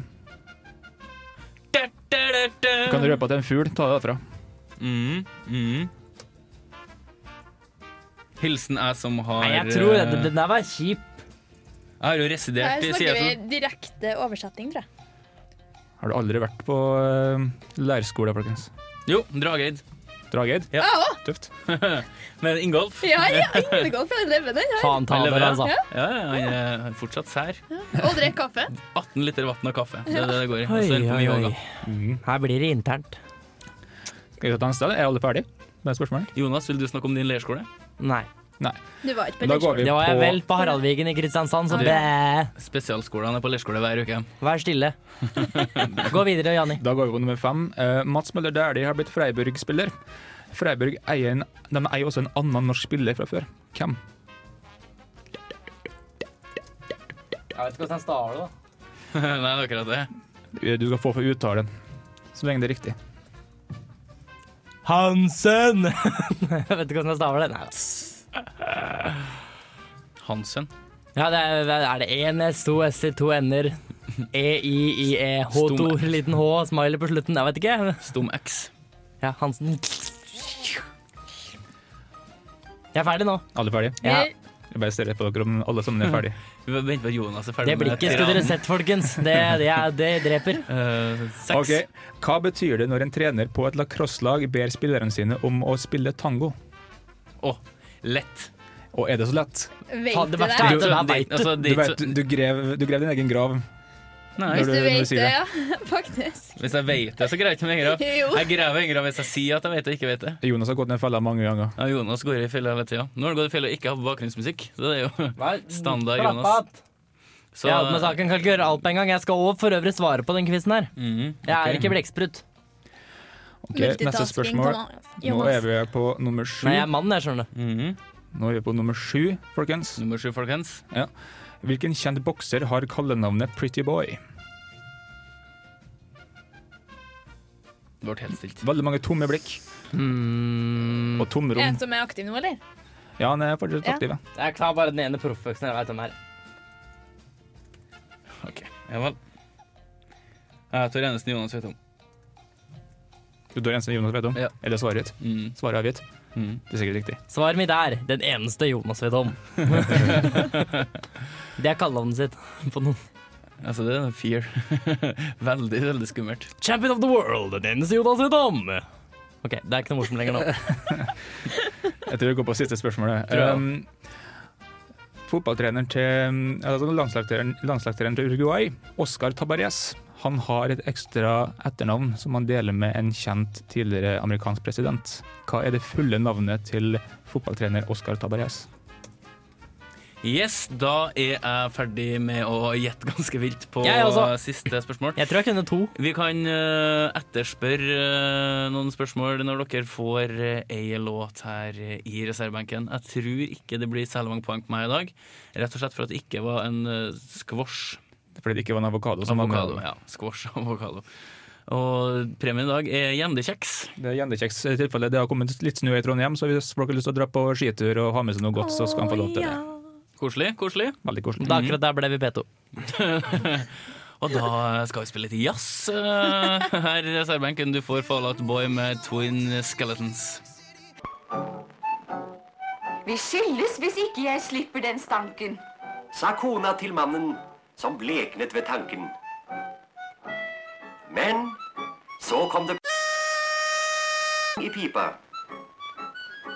Speaker 5: det? Kan du røpe at det er en fugl? Ta det derfra.
Speaker 4: Mm, mm. Hilsen jeg som har
Speaker 8: Nei, jeg tror
Speaker 4: eh,
Speaker 8: det. Den der var kjip.
Speaker 4: Jeg har jo
Speaker 6: Her
Speaker 4: residert i
Speaker 6: snakker vi
Speaker 4: Seattle.
Speaker 6: direkte oversetting, tror jeg.
Speaker 5: Har du aldri vært på eh, leirskole, folkens?
Speaker 4: Jo, Drageid.
Speaker 5: Drageid?
Speaker 4: Ja.
Speaker 5: Tøft.
Speaker 4: Men Ingolf
Speaker 6: Ah, Ja, ja, Ingegolf er levende, den her.
Speaker 8: Faen ta
Speaker 4: Han
Speaker 8: det,
Speaker 4: lever, ja.
Speaker 8: altså.
Speaker 4: Ja, ja, han er- han er fortsatt sær.
Speaker 6: Og drikker kaffe.
Speaker 4: 18 liter vann og kaffe. Det er det det går i. Og
Speaker 8: Oi,
Speaker 4: så holder han på med
Speaker 8: oi,
Speaker 4: yoga.
Speaker 8: oi. Her blir det internt.
Speaker 5: Skal vi ta en sted? Er alle ferdige med spørsmålet?
Speaker 4: Jonas, vil du snakke om din leirskole?
Speaker 8: Nei.
Speaker 6: Du var ikke på
Speaker 5: Da går
Speaker 6: leirskole.
Speaker 5: vi
Speaker 8: Det var jeg
Speaker 5: på
Speaker 8: vel på Haraldvigen i Kristiansand, så
Speaker 4: Ja.
Speaker 8: bæ.
Speaker 4: Spesialskolene er på leirskole hver uke. (laughs)
Speaker 8: Vær stille. Gå videre, Janni.
Speaker 5: Da går vi på nummer fem. Eh, Mats Møller Dæhlie har blitt Freiburg-spiller. Freiburg eier, en, de eier også en annen norsk spiller fra før. Hvem?
Speaker 8: Jeg vet ikke hvordan jeg staver det, da.
Speaker 4: Nei, det er akkurat det.
Speaker 5: Eh, Du skal få for uttalen, så lenge det er riktig.
Speaker 8: (laughs) Hansen! jeg vet ikke hvordan jeg staver det. Nei, da.
Speaker 4: Hansen.
Speaker 8: Ja, det er, er det én S, to S-er, to N-er. E, E-I-I-E, H2,
Speaker 4: Stum.
Speaker 8: liten H, smiley på slutten. Jeg vet ikke.
Speaker 4: Stum X.
Speaker 8: Ja, Hansen. Jeg er ferdig nå.
Speaker 5: Alle ferdige?
Speaker 8: Ja. Mm.
Speaker 5: Jeg bare ser rett på dere om alle sammen er ferdige.
Speaker 4: Vi Vent på at Jonas er ferdig
Speaker 8: Det blikket skulle dere sett, folkens. Det, det, er- det dreper.
Speaker 4: Uh, seks.
Speaker 5: Ok, Hva betyr det når en trener på et lacrosselag ber spillerne sine om å spille tango?
Speaker 4: Å, lett.
Speaker 5: Og er det så lett?
Speaker 8: Faen,
Speaker 11: Vet
Speaker 8: det
Speaker 11: du
Speaker 8: verste er
Speaker 11: det?
Speaker 8: at det der veit du.
Speaker 4: Altså,
Speaker 5: Du,
Speaker 4: det er
Speaker 5: vet,
Speaker 4: ikke så-
Speaker 5: du, grev, du grev din egen grav.
Speaker 4: Nei,
Speaker 11: Hvis
Speaker 5: når
Speaker 11: du
Speaker 5: du- når du
Speaker 11: vet
Speaker 5: sier
Speaker 11: det,
Speaker 5: det.
Speaker 11: ja.
Speaker 6: (laughs)
Speaker 11: Faktisk.
Speaker 4: Hvis jeg vet det, så greier jeg ikke med (laughs) en grav.
Speaker 11: Jo.
Speaker 4: Jeg graver en grav hvis jeg sier at jeg vet det, ikke vet det.
Speaker 5: Jonas har gått ned fella mange ganger.
Speaker 4: Ja, Jonas går i fella hele tida. Nå har han gått i fella og ikke har bakgrunnsmusikk. Så det er jo (laughs) Standard,
Speaker 8: Slapp
Speaker 4: Jonas.
Speaker 8: av.
Speaker 4: så,
Speaker 8: Jeg hadde med saken, kan ikke gjøre alt på en gang. Jeg skal også for øvrig svare på den quizen her.
Speaker 4: Mhm,
Speaker 8: Jeg er
Speaker 4: ok.
Speaker 8: ikke blekksprut.
Speaker 5: Ok, Neste spørsmål. Nå er vi på nummer sju.
Speaker 8: Nei, jeg er mann, jeg skjønner.
Speaker 4: Mhm.
Speaker 5: Nå er vi på nummer sju, folkens.
Speaker 4: Nummer sju, folkens.
Speaker 5: Hvilken kjent bokser har kallenavnet Pretty Boy?
Speaker 4: Det ble helt stilt.
Speaker 5: Veldig mange tomme blikk
Speaker 4: Hmm.
Speaker 8: Mm.
Speaker 5: og tomrom.
Speaker 11: En som er aktiv nå, eller?
Speaker 5: Ja, han er fortsatt
Speaker 11: Ja.
Speaker 5: aktiv. ja.
Speaker 8: Jeg tar bare den ene proffboksen jeg vet om her.
Speaker 4: Ja vel. Jeg tror eneste Jonas vet om.
Speaker 5: Du dør en som Jonas vet om.
Speaker 4: Ja.
Speaker 5: Er det svaret ditt?
Speaker 4: Mm.
Speaker 5: Svaret er avgitt.
Speaker 4: Mm.
Speaker 5: Det er sikkert riktig.
Speaker 8: Svaret mitt er den eneste Jonas
Speaker 4: (laughs)
Speaker 8: vet om. det er kallenavnet sitt på noen.
Speaker 4: Altså, det er en fear. (laughs) veldig, veldig skummelt.
Speaker 8: Champion of the world, den eneste Jonas vet om. Ok, det er ikke noe morsomt lenger nå.
Speaker 5: Jeg tror vi går på siste spørsmålet.
Speaker 4: Tror jeg.
Speaker 5: Um, fotballtreneren til altså landslagstreneren, landslagstreneren til Uruguay, Oscar Tabarez, han har et ekstra etternavn som han deler med en kjent tidligere amerikansk president. Hva er det fulle navnet til fotballtrener Oscar Tabarez?
Speaker 4: Yes, da er jeg ferdig med å gjette ganske vilt på
Speaker 8: Jeg også.
Speaker 4: siste spørsmål.
Speaker 8: Jeg tror jeg kunne to.
Speaker 4: Vi kan eh, etterspørre eh, noen spørsmål når dere får eh, ei låt her eh, i reservebenken. Jeg tror ikke det blir særlig mange poeng på meg i dag, rett og slett for at det ikke var en eh, squash.
Speaker 5: Fordi det ikke var en avokado som var med.
Speaker 4: Avokado, ja. Squash og avokado. Og premien i dag er gjendekjeks.
Speaker 5: Det er gjendekjeks i tilfelle det har kommet litt snø i Trondheim, så hvis folk har lyst til å dra på skitur og ha med seg noe godt, så skal han få lov til det.
Speaker 4: Koselig, koselig.
Speaker 5: Veldig koselig.
Speaker 8: Da akkurat der ble vi P2.
Speaker 4: Og da skal vi spille litt jazz eh, her i reservebenken. Du får Fallout Boy med Twin Skeletons.
Speaker 12: Vi skilles hvis ikke jeg slipper den stanken.
Speaker 13: sa kona til mannen som bleknet ved tanken. Men så kom det i pipa,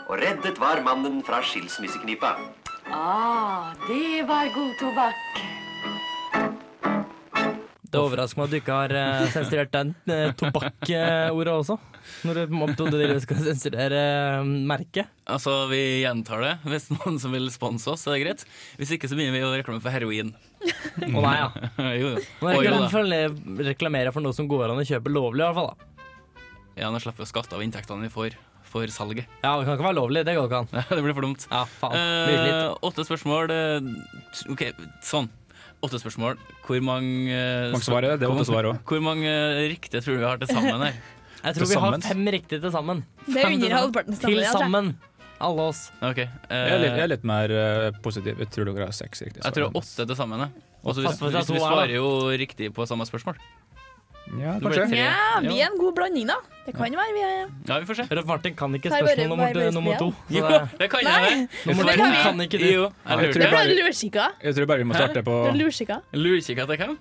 Speaker 13: og reddet var mannen fra skilsmisseknipa.
Speaker 12: Ah, det var god tobakk.
Speaker 8: Det overrasker meg at du ikke har eh, sensurert den eh, tobakkordet også. Når du opptok det du skal sensurere eh, merket.
Speaker 4: Altså, vi gjentar det. Hvis noen som vil sponse oss, er det greit. Hvis ikke, så begynner vi å reklame for heroin.
Speaker 8: Å nei, ja.
Speaker 4: (laughs) jo, jo.
Speaker 8: Nå
Speaker 4: Mm. Oi, jo da.
Speaker 8: reklamerer for, reklamerer for noe som går an å kjøpe lovlig, i hvert fall. da.
Speaker 4: Ja, nå slipper vi å skatte av inntektene vi får for salget. (laughs)
Speaker 8: Ja, det kan ikke være lovlig. Det går ikke an.
Speaker 4: det blir for dumt.
Speaker 8: Ja, faen. Mye slitt.
Speaker 4: Eh, åtte spørsmål. eh, t- OK, sånn. Åtte spørsmål. Hvor mange eh,
Speaker 5: Mange svar er det? Det er
Speaker 4: hvor-
Speaker 5: åtte svar også.
Speaker 4: Hvor mange eh, riktige tror du vi har til sammen her?
Speaker 8: Jeg tror
Speaker 5: Til
Speaker 8: vi har
Speaker 5: sammen?
Speaker 8: fem riktige til sammen.
Speaker 6: Det er under halvparten av
Speaker 8: Til
Speaker 6: stemmen, altså. ja, tror jeg.
Speaker 8: sammen. Alle oss.
Speaker 4: OK. eh,
Speaker 5: Jeg er litt, jeg er litt mer eh, positiv. Jeg tror dere har seks riktige.
Speaker 4: jeg tror det er åtte til sammen. jeg. Og så hvis,
Speaker 8: Pass på at det
Speaker 4: hvis
Speaker 8: er
Speaker 4: vi
Speaker 8: to her,
Speaker 4: svarer jo riktig på samme spørsmål.
Speaker 5: Ja,
Speaker 4: Da blir det
Speaker 5: kanskje.
Speaker 4: tre.
Speaker 6: Ja, vi
Speaker 4: Ja.
Speaker 6: er en god blanding, da. Det kan være vi er
Speaker 4: Ja, vi får se.
Speaker 8: Rødt Martin kan ikke
Speaker 6: Nei, bare-
Speaker 8: spørsmål nummer,
Speaker 6: bare- bare
Speaker 8: nummer to. så
Speaker 4: Jo,
Speaker 8: det-
Speaker 4: (laughs) det kan
Speaker 6: Nei.
Speaker 4: jeg.
Speaker 8: Nummer
Speaker 6: det
Speaker 8: to
Speaker 6: kan vi.
Speaker 8: kan ikke du.
Speaker 4: Jo, jeg
Speaker 5: Jeg
Speaker 4: lurte.
Speaker 5: tror
Speaker 6: Det
Speaker 5: bare-
Speaker 6: var lureskikka.
Speaker 5: Jeg tror bare vi må starte på
Speaker 6: Det var lureskikka.
Speaker 4: Lurkikker til hvem?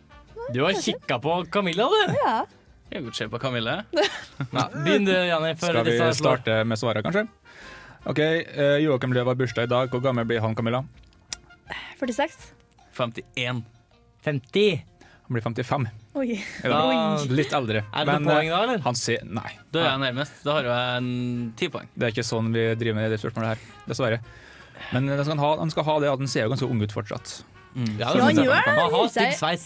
Speaker 8: Du har kikka på Camilla, du.
Speaker 6: Ja.
Speaker 4: Jeg kan se på Kamille.
Speaker 8: Ja, begynn du, Janni. før
Speaker 5: Skal vi
Speaker 8: disse slår.
Speaker 5: starte med svaret, kanskje? OK, eh, Joakim Løv har bursdag i dag. Hvor gammel blir han, Camilla?
Speaker 6: 46.
Speaker 4: 51.
Speaker 8: 50.
Speaker 5: Han blir 55.
Speaker 6: Oi.
Speaker 5: Er det?
Speaker 8: Da-
Speaker 5: Litt eldre.
Speaker 8: Er det noe
Speaker 5: eh,
Speaker 8: poeng da, eller?
Speaker 5: Han ser Nei.
Speaker 4: Da er jeg nærmest. Da har jo jeg en ti poeng.
Speaker 5: Det er ikke sånn vi driver med det spørsmålet her, dessverre. Men det skal han, ha, han skal ha det at han ser jo ganske ung ut fortsatt.
Speaker 8: Ja,
Speaker 6: Ja, han
Speaker 8: synes jeg.
Speaker 6: gjør det.
Speaker 8: Han
Speaker 6: Sier-
Speaker 8: har stygg sveis.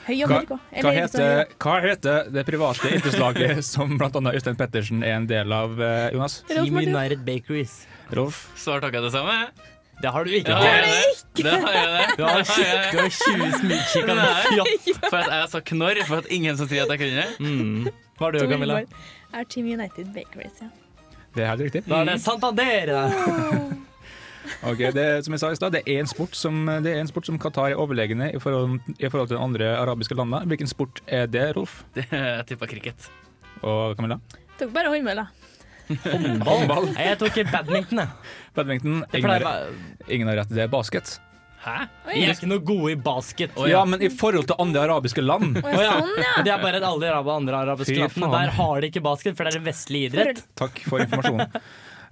Speaker 6: Høy
Speaker 5: Hva,
Speaker 6: amerika.
Speaker 5: hva, heter, hva heter det private idrettslaget (laughs) som bl.a. Øystein Pettersen er en del av, eh, Jonas?
Speaker 8: Team United Bakeries.
Speaker 5: Rolf?
Speaker 4: Svar takker jeg det samme.
Speaker 8: Det har du ikke.
Speaker 4: Ja,
Speaker 8: hatt.
Speaker 4: jeg det. Det har jeg det.
Speaker 8: Du har, du har 20 smygkikka
Speaker 4: Nei. For at jeg sa knorr, for at ingen som sier at jeg kunne det.
Speaker 8: Hva har du, Camilla?
Speaker 6: Er Team United Bakeries, ja.
Speaker 5: Det er helt riktig.
Speaker 8: Da er det Santander! da.
Speaker 5: Ok, det, er som jeg sa i stad, det, er en sport som- det er en sport som Qatar er overlegne i forhold, i forhold til de andre arabiske landene. Hvilken sport er det, Rolf?
Speaker 4: Det Jeg tippa cricket.
Speaker 5: Og Camilla?
Speaker 6: Tok bare håndball, da.
Speaker 5: Håndball.
Speaker 8: Nei, Jeg tok badminton, jeg.
Speaker 5: Badminton.
Speaker 8: Det
Speaker 5: Ingen,
Speaker 8: pleier
Speaker 5: har- ingen har rett. Det er basket.
Speaker 4: Hæ?
Speaker 8: Vi er ikke noe gode i basket.
Speaker 5: Ja, men i forhold til andre arabiske land.
Speaker 8: Å ja. Det er bare at alle arab andre arabiske
Speaker 5: Fy
Speaker 8: land.
Speaker 5: faen.
Speaker 8: Der har de ikke basket, for det er en vestlig idrett.
Speaker 5: Takk for informasjonen.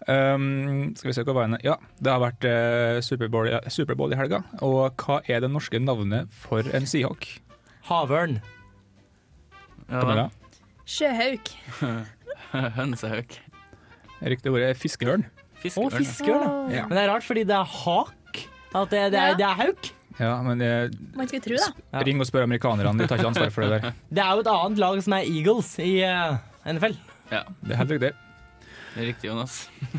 Speaker 5: Um, skal vi se hva var det? Ja, det har vært eh, Superbowl, ja, Superbowl i helga. Og hva er det norske navnet for en seahawk?
Speaker 8: Havørn.
Speaker 5: Camilla?
Speaker 6: Sjøhauk.
Speaker 4: (laughs) Hønsehauk.
Speaker 5: Riktig ord er fiskeørn.
Speaker 8: Å, fiskeørn,
Speaker 5: Wow.
Speaker 8: ja.
Speaker 5: Ja.
Speaker 8: Men det er rart, fordi det er hak. At det, det,
Speaker 6: Ja.
Speaker 8: er, det er hauk.
Speaker 5: Ja, men eh,
Speaker 6: Man skulle tro, da.
Speaker 5: ring og spør amerikanerne, de tar ikke ansvar for det der.
Speaker 8: Det er jo et annet lag som er Eagles i eh, NFL.
Speaker 4: Ja.
Speaker 5: Det er helt riktig.
Speaker 4: Det er riktig, Jonas.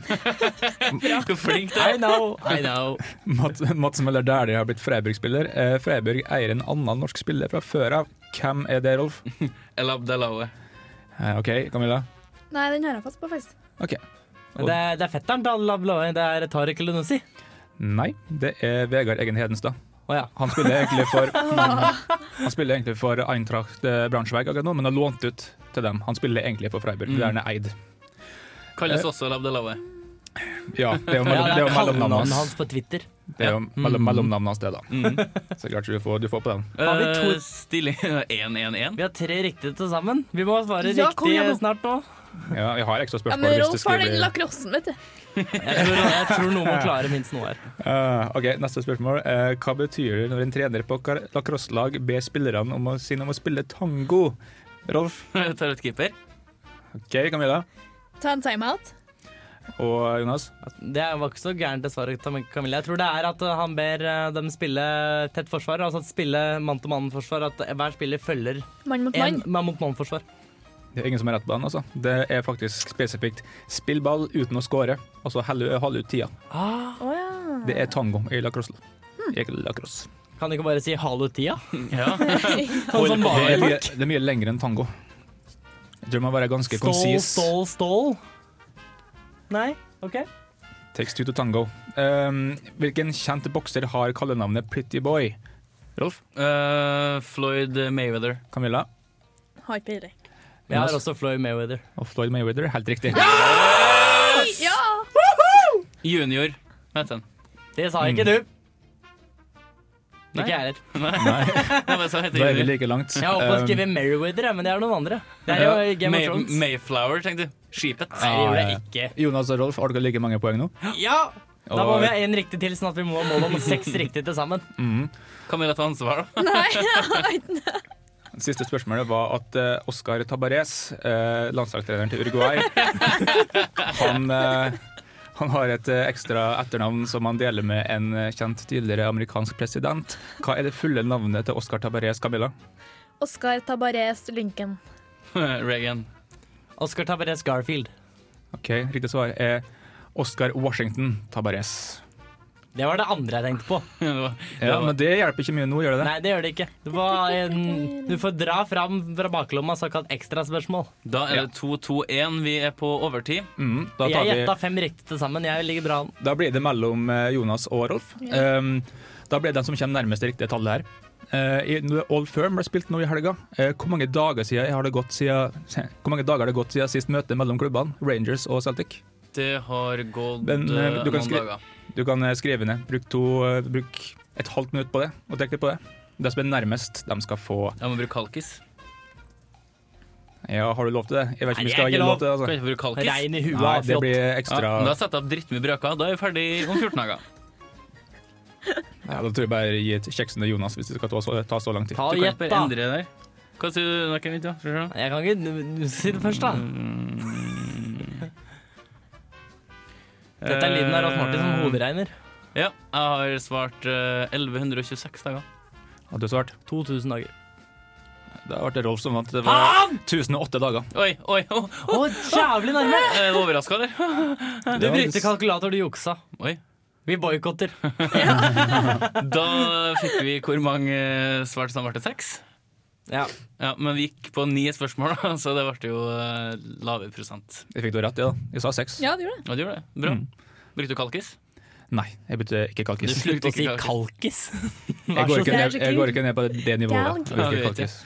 Speaker 4: Hvor flink du
Speaker 8: I know, I know.
Speaker 5: (laughs) Mats, Mats Møller Dæhlie har blitt Freiburg-spiller. Eh, Freiburg eier en annen norsk spiller fra før av. Hvem er det, Rolf?
Speaker 4: El Abdelaue.
Speaker 5: Eh, OK, Camilla.
Speaker 6: Nei, den har jeg fast på, faktisk.
Speaker 5: OK.
Speaker 8: Men Det, er- det er fetteren til Alla Blaue. Det er Tariq Elunussi.
Speaker 5: Nei, det er Vegard Egen Hedenstad.
Speaker 8: Å ja.
Speaker 5: Han spiller egentlig for
Speaker 8: (laughs)
Speaker 5: Han spiller egentlig for Eintracht eh, Braunschweig akkurat nå, men har lånt ut til dem. Han spiller egentlig for Freiburg.
Speaker 8: Mm.
Speaker 5: Det er han er eid.
Speaker 4: Kalles
Speaker 5: Eh.
Speaker 4: også El Abdelaue.
Speaker 5: Ja, det er jo
Speaker 8: Ja,
Speaker 5: mellom- det er
Speaker 8: det er
Speaker 5: jo mellomnavnet
Speaker 8: kallenavnet hans Mm.
Speaker 5: hans.
Speaker 8: på Twitter.
Speaker 5: Det er jo mellom, mellomnavnet hans, det, da.
Speaker 4: Mhm.
Speaker 5: Så klart du får, du får på den.
Speaker 8: Har vi to-
Speaker 4: Eh, (laughs) Stilling 1-1-1. (laughs)
Speaker 8: Vi har tre riktige til sammen. Vi må svare
Speaker 6: Ja, kom
Speaker 8: riktig
Speaker 6: igjen nå.
Speaker 8: snart nå.
Speaker 5: Ja, vi har ekstra
Speaker 6: Ja,
Speaker 5: spørsmål.
Speaker 6: men
Speaker 5: hvis det
Speaker 6: Rolf har
Speaker 5: skulle
Speaker 6: den
Speaker 5: bli-
Speaker 6: lacrossen, vet du.
Speaker 8: Jeg tror, jeg tror noen må klare minst noe her.
Speaker 5: Eh, ok, Neste spørsmål. Eh, hva betyr det når en trener på kar- lacrosselag ber spillerne om å, sine om å spille tango? Rolf,
Speaker 4: Tarotkeeper.
Speaker 5: OK, Camilla
Speaker 6: Ta en timeout.
Speaker 5: og Jonas.
Speaker 8: Det var ikke så gærent det svaret, Tam- Camilla. Jeg tror det er at uh, han ber uh, dem spille tett forsvar, altså at spille mann-til-mann-forsvar. At hver spiller følger
Speaker 6: Mann mot
Speaker 8: en
Speaker 6: mann.
Speaker 8: mann mot mann-forsvar.
Speaker 5: Det er ingen som har rett på den, altså. Det er faktisk spesifikt. Spill ball uten å score, og så helle- holde ut tida.
Speaker 6: Å ja.
Speaker 5: Det er tango i lacrosse.
Speaker 6: Hmm.
Speaker 5: I lacrosse.
Speaker 8: Kan du ikke bare si 'hallo, tida'?
Speaker 4: Ja. (laughs)
Speaker 8: Sånn som
Speaker 5: Det er, mye,
Speaker 8: bare
Speaker 5: det er mye lengre enn tango. Jeg tror man må være ganske
Speaker 8: Stål,
Speaker 5: konsis.
Speaker 8: stål, stål. Nei? OK.
Speaker 5: Takes two to tango. Um, hvilken kjent bokser har kallenavnet Pretty Boy? Rolf?
Speaker 4: Eh, Floyd Mayweather.
Speaker 5: Camilla?
Speaker 6: Har ikke peiling.
Speaker 8: Jeg har også Floyd Mayweather.
Speaker 5: Og Floyd Mayweather. Helt riktig.
Speaker 6: Ja!
Speaker 4: Junior, heter han.
Speaker 8: Det
Speaker 5: Mm.
Speaker 8: sa ikke du. Ikke jeg heller.
Speaker 5: Nei,
Speaker 4: Jeg bare sa heter
Speaker 5: da er vi
Speaker 4: junior.
Speaker 5: like langt.
Speaker 8: Jeg håper å
Speaker 5: Um,
Speaker 8: skrive Merriweather, men det er noen andre. Det er jo Game
Speaker 4: May
Speaker 8: of Thrones.
Speaker 4: Mayflower, tenkte du. Skipet.
Speaker 8: Nei, det gjorde
Speaker 5: ja, ja.
Speaker 8: jeg ikke.
Speaker 5: Jonas og Rolf, har dere like mange poeng nå?
Speaker 8: Ja! Da må
Speaker 5: Og-
Speaker 8: vi ha én riktig til, sånn at vi må ha mål om seks riktige til sammen.
Speaker 5: Mhm.
Speaker 4: Camilla ta ansvar, da. (laughs)
Speaker 6: Nei, (laughs) jeg har ikke
Speaker 5: Siste spørsmålet var at eh, Oscar Tabarez, eh, landslagstreneren til
Speaker 8: (laughs)
Speaker 5: Uruguay han, eh, han har et eh, ekstra etternavn som han deler med en eh, kjent tidligere amerikansk president. Hva er det fulle navnet til Oscar Tabarez, Camilla?
Speaker 6: Oscar Tabarez Lincoln.
Speaker 4: Reagan. (laughs)
Speaker 8: Oscar Tabarez Garfield.
Speaker 5: Ok, Riktig svar er Oscar Washington Tabarez.
Speaker 8: Det var det andre jeg tenkte på.
Speaker 4: Det var- det
Speaker 5: Ja,
Speaker 4: var-
Speaker 5: men det hjelper ikke mye nå, gjør det det?
Speaker 8: Nei, det gjør det ikke. Du får, en- du får dra fram fra baklomma såkalt ekstraspørsmål.
Speaker 4: Da er det 2-2-1. Vi er på overtid.
Speaker 5: Mm, da,
Speaker 8: Jeg
Speaker 5: tar
Speaker 8: gjetta
Speaker 5: vi,
Speaker 8: fem riktige til sammen. Jeg ligger bra an.
Speaker 5: da blir det mellom eh, Jonas og Rolf. Um, da blir det den som kommer nærmest det riktige tallet her. Eh, i- nå- Old Firm ble spilt nå i helga. Eh, hvor, mange dager siden har det gått siden, (laughs) hvor mange dager har det gått siden sist møte mellom klubbene, Rangers og Celtic?
Speaker 4: Det har gått
Speaker 5: Men, eh,
Speaker 4: eh,
Speaker 5: du kan
Speaker 4: noen
Speaker 5: skri-
Speaker 4: dager.
Speaker 5: Du kan eh, skrive ned. Bruk, to, eh, bruk et halvt minutt på det, og trekk litt på det. Det som er nærmest, de skal få
Speaker 4: Jeg må bruke kalkis.
Speaker 8: Altså,
Speaker 5: Ja, har du lov til det? Jeg vet ikke om vi
Speaker 8: Nei, det er
Speaker 5: skal gi
Speaker 8: ikke
Speaker 5: lov til det.
Speaker 4: Kan
Speaker 5: Altså.
Speaker 4: ikke bruke kalkis.
Speaker 8: Rein i huet.
Speaker 5: Nei, det
Speaker 8: flott.
Speaker 5: blir
Speaker 4: Ja,
Speaker 5: ekstra
Speaker 4: men da setter jeg opp drittmye brøker. Da er vi ferdig om 14
Speaker 8: (laughs)
Speaker 4: dager.
Speaker 5: ja, Da tror jeg bare gi et kjeksen til Jonas, hvis det skal ta så, ta så lang tid.
Speaker 8: Ta
Speaker 4: Du kan
Speaker 8: og
Speaker 4: ikke
Speaker 8: gjett,
Speaker 4: bare
Speaker 8: da.
Speaker 4: endre det der. Hva sier du? Nei, kan vi ikke, da? Skal vi
Speaker 8: (laughs)
Speaker 4: se.
Speaker 8: Jeg kan ikke du- du- Si det først, da.
Speaker 4: Mm.
Speaker 8: Dette er lyden av Rolf Martin som hoderegner.
Speaker 4: Eh, Ja, jeg har svart eh, 1126 dager.
Speaker 5: Har du svart?
Speaker 8: 2000 dager.
Speaker 5: Da ble det Rolf som vant. Det var 1008 dager.
Speaker 4: Oi, oi, oi.
Speaker 8: Å, jævlig nærme!
Speaker 4: Er du overraska, eller?
Speaker 8: Du brukte kalkulator, du juksa.
Speaker 4: (laughs) Oi.
Speaker 8: Vi boikotter.
Speaker 4: Da fikk vi hvor mange eh, svar som ble til seks.
Speaker 8: Ja.
Speaker 4: Ja, men vi gikk på ni spørsmål, (laughs) da, så det ble jo eh, lavere prosent.
Speaker 5: Jeg fikk det rett, ja. da. Jeg sa seks.
Speaker 6: Ja, det gjorde det.
Speaker 4: Ja, du gjorde det. Bra. Brukte du kalkis?
Speaker 5: Nei, jeg bytter ikke kalkis.
Speaker 8: Du slutter å si kalkis.
Speaker 5: Jeg går, ikke ned, jeg går ikke ned på det, det nivået.
Speaker 4: Galg.
Speaker 5: Jeg
Speaker 4: Ja,
Speaker 5: bruker
Speaker 4: vi vet
Speaker 5: kalkis.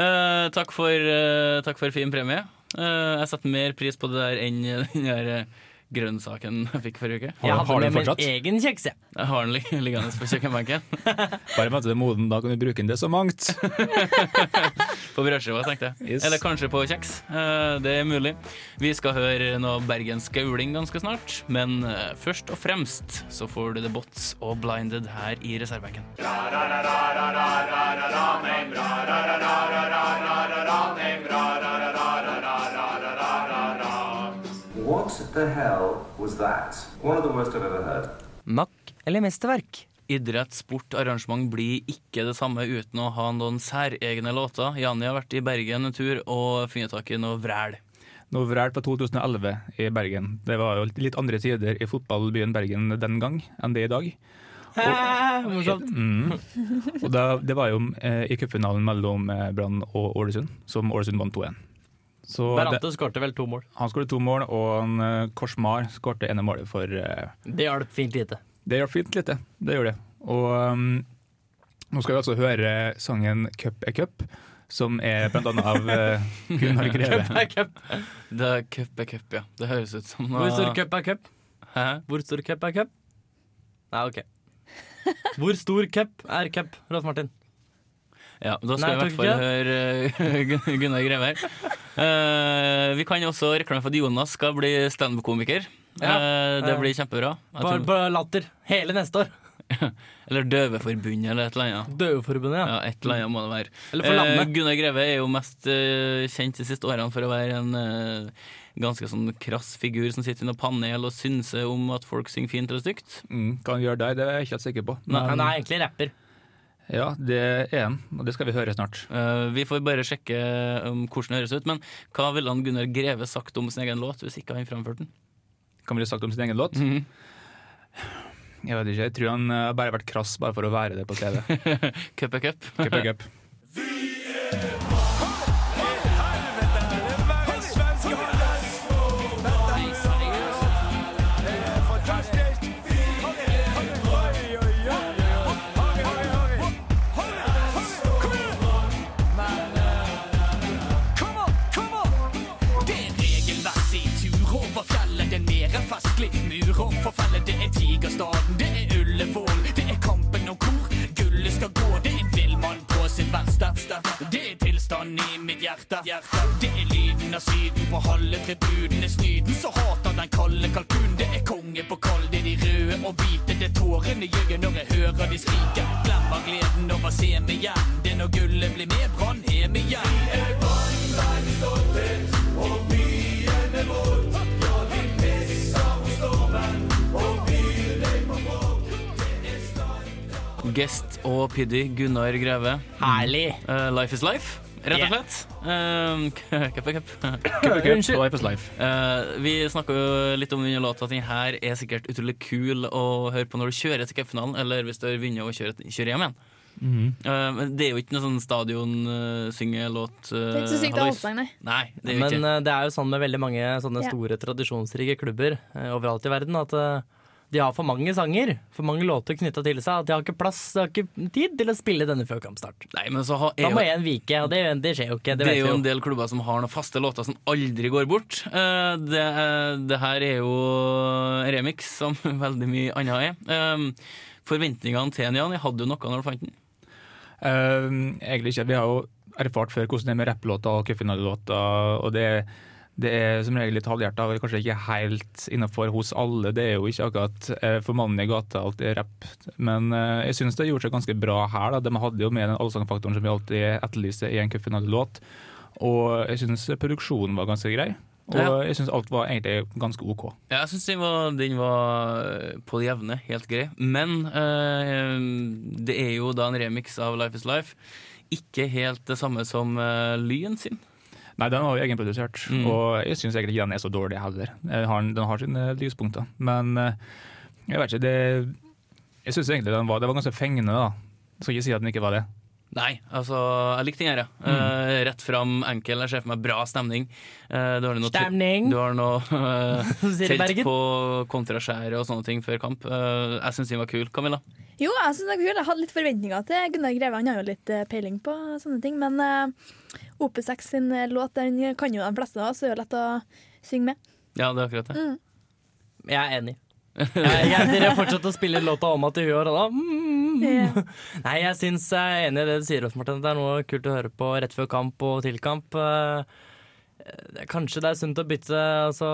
Speaker 4: Eh, takk, for, eh, takk for fin premie. Eh, jeg setter mer pris på det der enn (laughs) den der eh, grønnsaken jeg fikk forrige uke.
Speaker 8: Jeg hadde med min egen kjeks, jeg.
Speaker 4: Jeg har den lig- liggende på kjøkkenbenken.
Speaker 5: Bare vent til det er moden, da kan du bruke den til så mangt.
Speaker 4: På brødskiva, tenkte jeg.
Speaker 5: Yes.
Speaker 4: Eller kanskje på kjeks. Eh, det er mulig. Vi skal høre noe bergensk gauling ganske snart. Men eh, først og fremst så får du The Bots og Blinded her i reservebenken.
Speaker 14: What the hell was that? One of the worst I've ever heard.
Speaker 4: Makk eller mesterverk? Idrett, sport, arrangement blir ikke det samme uten å ha noen særegne låter. Janni har vært i Bergen en tur og funnet tak i noe vræl.
Speaker 5: Noe vræl på 2011 i Bergen. Det var jo litt andre tider i fotballbyen Bergen den gang enn det er i dag.
Speaker 8: Eh, Morsomt.
Speaker 5: Mm. Og da, det var jo eh, i cupfinalen mellom eh, Brann og Ålesund, som Ålesund vant 2-1. Så det-
Speaker 8: Berante skårte vel to mål.
Speaker 5: Han skåret to mål, og han eh, Korsmar skårte ene målet for eh,
Speaker 8: Det hjalp fint lite.
Speaker 5: Det hjalp fint lite, det gjør det. Og ehm, nå skal vi altså høre sangen 'Cup er cup', som er blant annet av
Speaker 4: (laughs)
Speaker 5: eh, Gunnar Greve.
Speaker 4: Cup er cup. Det er cup er cup, ja. Det høres ut som
Speaker 8: Hvor stor cup er cup?
Speaker 4: Hæ?
Speaker 8: Hvor stor cup er cup? Nei,
Speaker 4: (laughs)
Speaker 8: OK. Hvor stor cup er cup, Rolf Martin?
Speaker 4: Ja, da skal
Speaker 8: Nei,
Speaker 4: vi i hvert fall høre eh, Gunnar Greve her. Eh, vi kan også reklamere for at Jonas skal bli standup-komiker. Eh, det
Speaker 8: eh,
Speaker 4: blir kjempebra. Jeg
Speaker 8: På,
Speaker 4: tror-
Speaker 8: på latter. Hele neste år.
Speaker 4: Eller Døveforbundet eller et eller annet.
Speaker 8: Døveforbundet, ja.
Speaker 4: Et eller annet må det være.
Speaker 8: Eller for
Speaker 4: Eh,
Speaker 8: landet.
Speaker 4: Gunnar Greve er jo mest eh, kjent de siste årene for å være en eh, ganske sånn krass figur som sitter i noe panel og synser om at folk synger fint eller stygt.
Speaker 5: Mm, hva han gjør der, det er jeg ikke helt sikker på.
Speaker 4: Nei, han er
Speaker 8: egentlig rapper.
Speaker 5: Ja, det er han, og det skal vi høre snart.
Speaker 4: Eh, vi får bare sjekke eh, om hvordan det høres ut. Men hva ville han Gunnar Greve sagt om sin egen låt hvis ikke han framførte den? (laughs)
Speaker 5: Kan vi ha sagt om sin egen låt?
Speaker 4: Mhm.
Speaker 5: Jeg vet ikke, jeg tror han eh, bare har vært krass bare for å være det på TV.
Speaker 4: (laughs) cup er cup.
Speaker 5: cup, er cup.
Speaker 15: Det er regelverk i tur over fjellet. Det er mer enn festlig mur og forfallet. Det er Tigerstaden, det er Ullevål, det er kampen om hvor gullet skal gå. Det er en villmann på sitt verste. Det er tilstanden i mitt hjerte. Det er lyden av Syden på halve tribunen. Det er snyden som hater den kalde kalkunen. Det er kongepokal, det er de røde og hvite. Det er tårene i øyet når jeg hører de skrike. Glemmer gleden over semien. Det er når gullet blir med, Brann hjem igjen. Vi er Brann, verdens stolthet.
Speaker 4: Guest og Piddy, Gunnar Greve.
Speaker 8: Herlig.
Speaker 4: Eh, life is life, rett og slett. Eh, (laughs) cup er (laughs) cup.
Speaker 5: er cup, Unnskyld. life is life.
Speaker 4: Eh, vi snakka jo litt om under låta at den her er sikkert utrolig kul å høre på når du kjører til cupfinalen, eller hvis du har vunnet og kjører, kjører hjem igjen.
Speaker 5: Mhm.
Speaker 4: Eh, men det er jo ikke noe sånn stadionsyngelåt. Uh,
Speaker 11: Det er ikke så sykt allsang, nei.
Speaker 4: Nei, det er jo
Speaker 8: Men
Speaker 4: ikke.
Speaker 8: eh, det er jo sånn med veldig mange sånne
Speaker 11: Ja.
Speaker 8: store tradisjonsrike klubber eh, overalt i verden at eh, de har for mange sanger, for mange låter knytta til seg. At de har ikke plass, de har ikke tid til å spille denne før kampstart.
Speaker 4: Nei, men så har, er
Speaker 8: Da må
Speaker 4: jo-
Speaker 8: én vike, og det, det skjer jo ikke.
Speaker 4: Det,
Speaker 8: Det,
Speaker 4: er jo en
Speaker 8: vet vi jo.
Speaker 4: del klubber som har noen faste låter som aldri går bort. Eh, det, eh, det her er jo en remix, som (laughs) veldig mye annet er. Um, forventningene til en Jan, jeg hadde jo noe når du fant den.
Speaker 5: Ehm, egentlig ikke. Vi har jo erfart før hvordan det er med rapplåter og cupfinalelåter. Og det, det er som regel litt halvhjerta, og kanskje ikke helt innafor hos alle. Det er jo ikke akkurat eh, for mannen i gata alt er rapp. Men eh, jeg syns det gjorde seg ganske bra her. Da. De hadde jo med den allsangfaktoren som vi alltid etterlyser i en cupfinalelåt. Og jeg syns produksjonen var ganske grei. Og
Speaker 4: Ja.
Speaker 5: jeg syns alt var egentlig ganske OK.
Speaker 4: Ja, jeg syns den, var- den var på det jevne, helt grei. Men eh, det er jo da en remix av Life is Life. Ikke helt det samme som eh, Lyn sin.
Speaker 5: Nei, den var jo egenprodusert,
Speaker 4: Mm.
Speaker 5: og jeg syns egentlig ikke den er så dårlig heller. Den har, den har sine lyspunkter, men eh, jeg vet ikke, det Jeg syns egentlig den var, det var ganske fengende, da. Jeg skal ikke si at den ikke var det.
Speaker 4: Nei, altså, jeg likte den her, ja.
Speaker 6: Mm.
Speaker 4: Eh, rett fram, enkel. Jeg ser for meg bra stemning. Eh, du har noe te-
Speaker 8: Stemning.
Speaker 4: Du har noe (laughs) eh,
Speaker 6: (laughs)
Speaker 8: Sier det i
Speaker 4: telt
Speaker 8: Bergen.
Speaker 4: på kontraskjæret og sånne ting før kamp. Eh, jeg syns den var kul, Camilla.
Speaker 6: Jo, jeg synes det er kul. Jeg hadde litt forventninger til Gunnar Greve. Han har jo litt eh, peiling på sånne ting. Men eh, OP6 sin eh, låt den kan jo de fleste av oss, så det er jo lett å synge med.
Speaker 4: Ja, det er akkurat det.
Speaker 6: Mm.
Speaker 8: Jeg er enig. Jeg, jeg, dere fortsetter å spille låta om at i huet og da mm. Nei, jeg syns jeg er enig i det du sier, Rolf Martin. Det er noe kult å høre på rett før kamp og til kamp. Eh, eh, Kanskje det er sunt å bytte. Altså,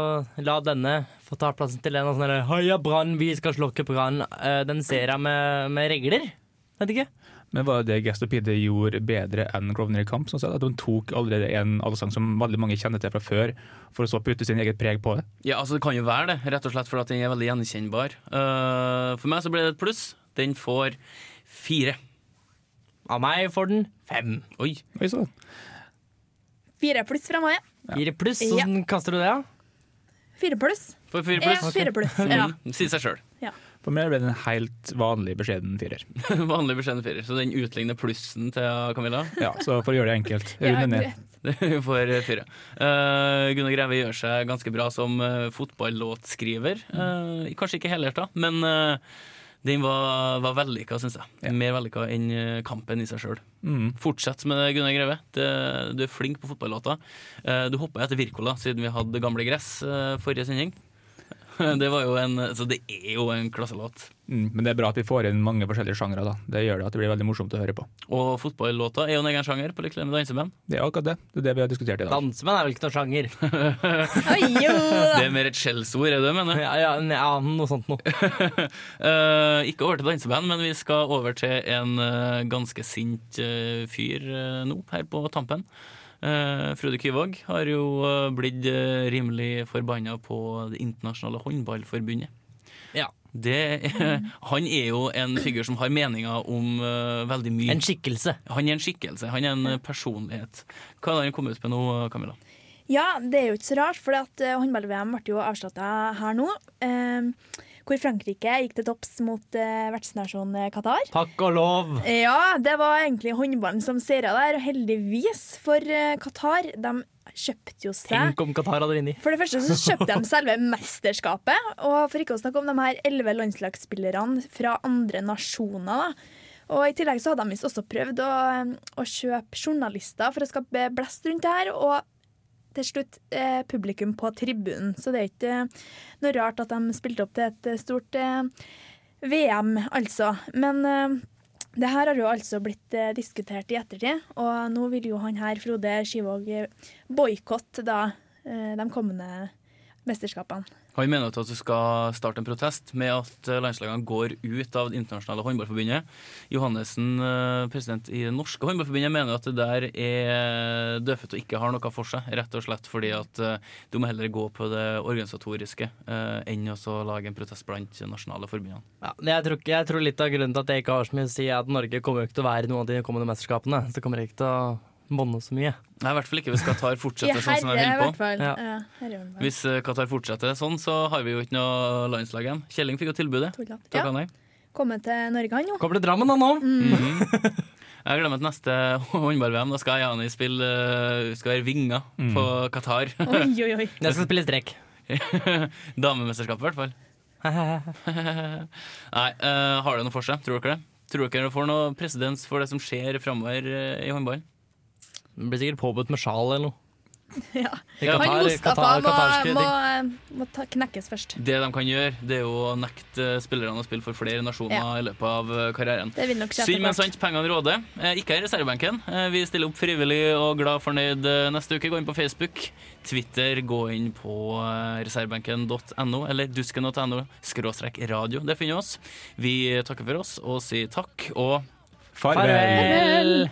Speaker 8: la denne få ta plassen til en av sånne der, Heia Brann, vi skal slokke Brann. Eh, Den ser jeg med, med regler. Vet ikke.
Speaker 5: Men var det det Gastopide gjorde bedre enn Grosvenor i kamp? Sånn sett, at De tok allerede en allsang som veldig mange kjenner til fra før, for å så putte sin eget preg på det.
Speaker 4: Ja, altså Det kan jo være det, rett og slett fordi at den er veldig gjenkjennbar. Eh, for meg så ble det et pluss. Den får fire.
Speaker 8: Av meg får den fem.
Speaker 4: Oi.
Speaker 5: Oi sann.
Speaker 6: Fire pluss fra meg.
Speaker 8: Fire pluss.
Speaker 6: Ja.
Speaker 8: Hvordan kaster du det, da?
Speaker 6: Fire pluss.
Speaker 4: For fire
Speaker 6: Ja,
Speaker 4: pluss.
Speaker 6: fire pluss, ja.
Speaker 4: Mm, Sier seg sjøl.
Speaker 6: Ja.
Speaker 5: For meg ble det en helt vanlig beskjeden firer.
Speaker 4: (laughs) Vanlig beskjeden firer. Så den utligner plussen til Camilla.
Speaker 5: Ja, så for å gjøre det enkelt. Runde ned.
Speaker 4: (laughs) Du får fire. Eh, Gunnar Greve gjør seg ganske bra som eh, fotballåtskriver. Eh, kanskje ikke helhjerta, men eh, den var, var vellykka, syns jeg. Mer vellykka enn eh, kampen i seg sjøl.
Speaker 5: Mm.
Speaker 4: Fortsett med det, Gunnar Greve. Det, du er flink på fotballåter. Eh, du hoppa etter Wirkola siden vi hadde Gamle gress eh, forrige sending. (laughs) Det, var jo en, så det er jo en klasselåt.
Speaker 5: Mm, men det er bra at vi får inn mange forskjellige sjangre. da. Det gjør det at det blir veldig morsomt å høre på.
Speaker 4: Og fotballåter er jo en egen sjanger, på lik linje med danseband.
Speaker 5: Det er akkurat det. Det er det vi har diskutert i dag.
Speaker 8: Dansemenn er vel ikke noen sjanger? (laughs)
Speaker 4: (laughs) Det er mer et skjellsord, er det det du mener?
Speaker 8: Ja, ja, ja, noe sånt noe.
Speaker 4: Eh, ikke over til danseband, men vi skal over til en eh, ganske sint eh, fyr eh, nå, her på tampen. Eh, Frode Kyvåg har jo eh, blitt eh, rimelig forbanna på Det internasjonale håndballforbundet.
Speaker 8: Ja.
Speaker 4: Det, er- (laughs) han er jo en figur som har meninger om eh, veldig mye.
Speaker 8: En skikkelse.
Speaker 4: Han er en skikkelse, han er en eh, personlighet. Hva er det han kom ut med nå, Camilla?
Speaker 6: Ja, det er jo ikke så rart, for at eh, håndball-VM ble jo avslutta her nå. eh, hvor Frankrike gikk til topps mot eh, vertsnasjonen Qatar.
Speaker 8: Takk og lov.
Speaker 6: Ja, det var egentlig håndballen som seira der, og heldigvis for eh, Qatar. De kjøpte jo seg
Speaker 8: Tenk om Qatar hadde vunnet.
Speaker 6: For det første så kjøpte de selve mesterskapet, og for ikke å snakke om de her elleve landslagsspillerne fra andre nasjoner. da. Og I tillegg så hadde de visst også prøvd å, eh, å kjøpe journalister for å skape blest rundt det her, og til slutt eh, publikum på tribunen. Så det er ikke eh, noe rart at de spilte opp til et stort eh, VM, altså. Men eh, det her har jo altså blitt eh, diskutert i ettertid, og nå vil jo han her, Frode Skivåg, eh, boikotte da eh, de kommende mesterskapene.
Speaker 4: Han mener at du skal starte en protest med at eh, landslagene går ut av Det internasjonale håndballforbundet. Johannessen, eh, president i Det norske håndballforbundet, mener at det der er dødfødt og ikke har noe for seg. Rett og slett fordi at eh, du må heller gå på det organisatoriske eh, enn å så lage en protest blant de nasjonale forbundene.
Speaker 8: Ja, men jeg, tror, ikke- jeg tror litt av grunnen til at jeg ikke har så mye å si, er at Norge kommer jo ikke til å være i noen av de kommende mesterskapene. Så det kommer ikke til å monne så mye.
Speaker 4: Nei, i hvert fall ikke hvis Qatar
Speaker 6: I
Speaker 4: fortsetter sånn som
Speaker 6: herre,
Speaker 4: de
Speaker 6: i hvert
Speaker 4: holder på.
Speaker 6: fall.
Speaker 4: Ja.
Speaker 6: Ja, herre håndball.
Speaker 4: Hvis eh, Qatar fortsetter sånn, så har vi jo ikke noe landslag igjen. Kjelling fikk jo tilbudet.
Speaker 6: Tulla.
Speaker 4: Takk han nei.
Speaker 6: Komme til Norge, han
Speaker 4: (laughs)
Speaker 6: jo.
Speaker 8: Kommer til Drammen, han nå.
Speaker 6: Mm.
Speaker 4: Jeg glemmer at neste (laughs) håndball-VM da skal Jani spille eh, skal være vinga på Qatar. (laughs)
Speaker 6: Oi, oi, oi.
Speaker 8: Jeg skal spille strekk.
Speaker 4: Damemesterskapet, i hvert fall. (laughs) Nei, eh, har det noe for seg? Tror dere det? Tror dere det får noe presedens for det som skjer framover i håndballen?
Speaker 8: Det blir sikkert påbudt med sjal eller noe. I
Speaker 4: Ja.
Speaker 8: Qatar-
Speaker 6: han Mustafa
Speaker 8: Qatar-
Speaker 6: må,
Speaker 8: Qatarske ting.
Speaker 6: må, eh, må ta, knekkes først.
Speaker 4: Det de kan gjøre, det er jo å nekte eh, spillerne å spille for flere nasjoner
Speaker 6: Ja.
Speaker 4: i løpet av eh, karrieren.
Speaker 6: Det vil nok skje
Speaker 4: Synd, men
Speaker 6: etter hvert.
Speaker 4: sant. Pengene råder. Eh, Ikke her i reservebenken. Eh, Vi stiller opp frivillig og glad fornøyd eh, neste uke. Gå inn på Facebook, Twitter, gå inn på eh, reservebenken.no eller dusken.no skråstrek radio. Det finner vi oss. Vi takker for oss og sier takk og
Speaker 8: Farvel.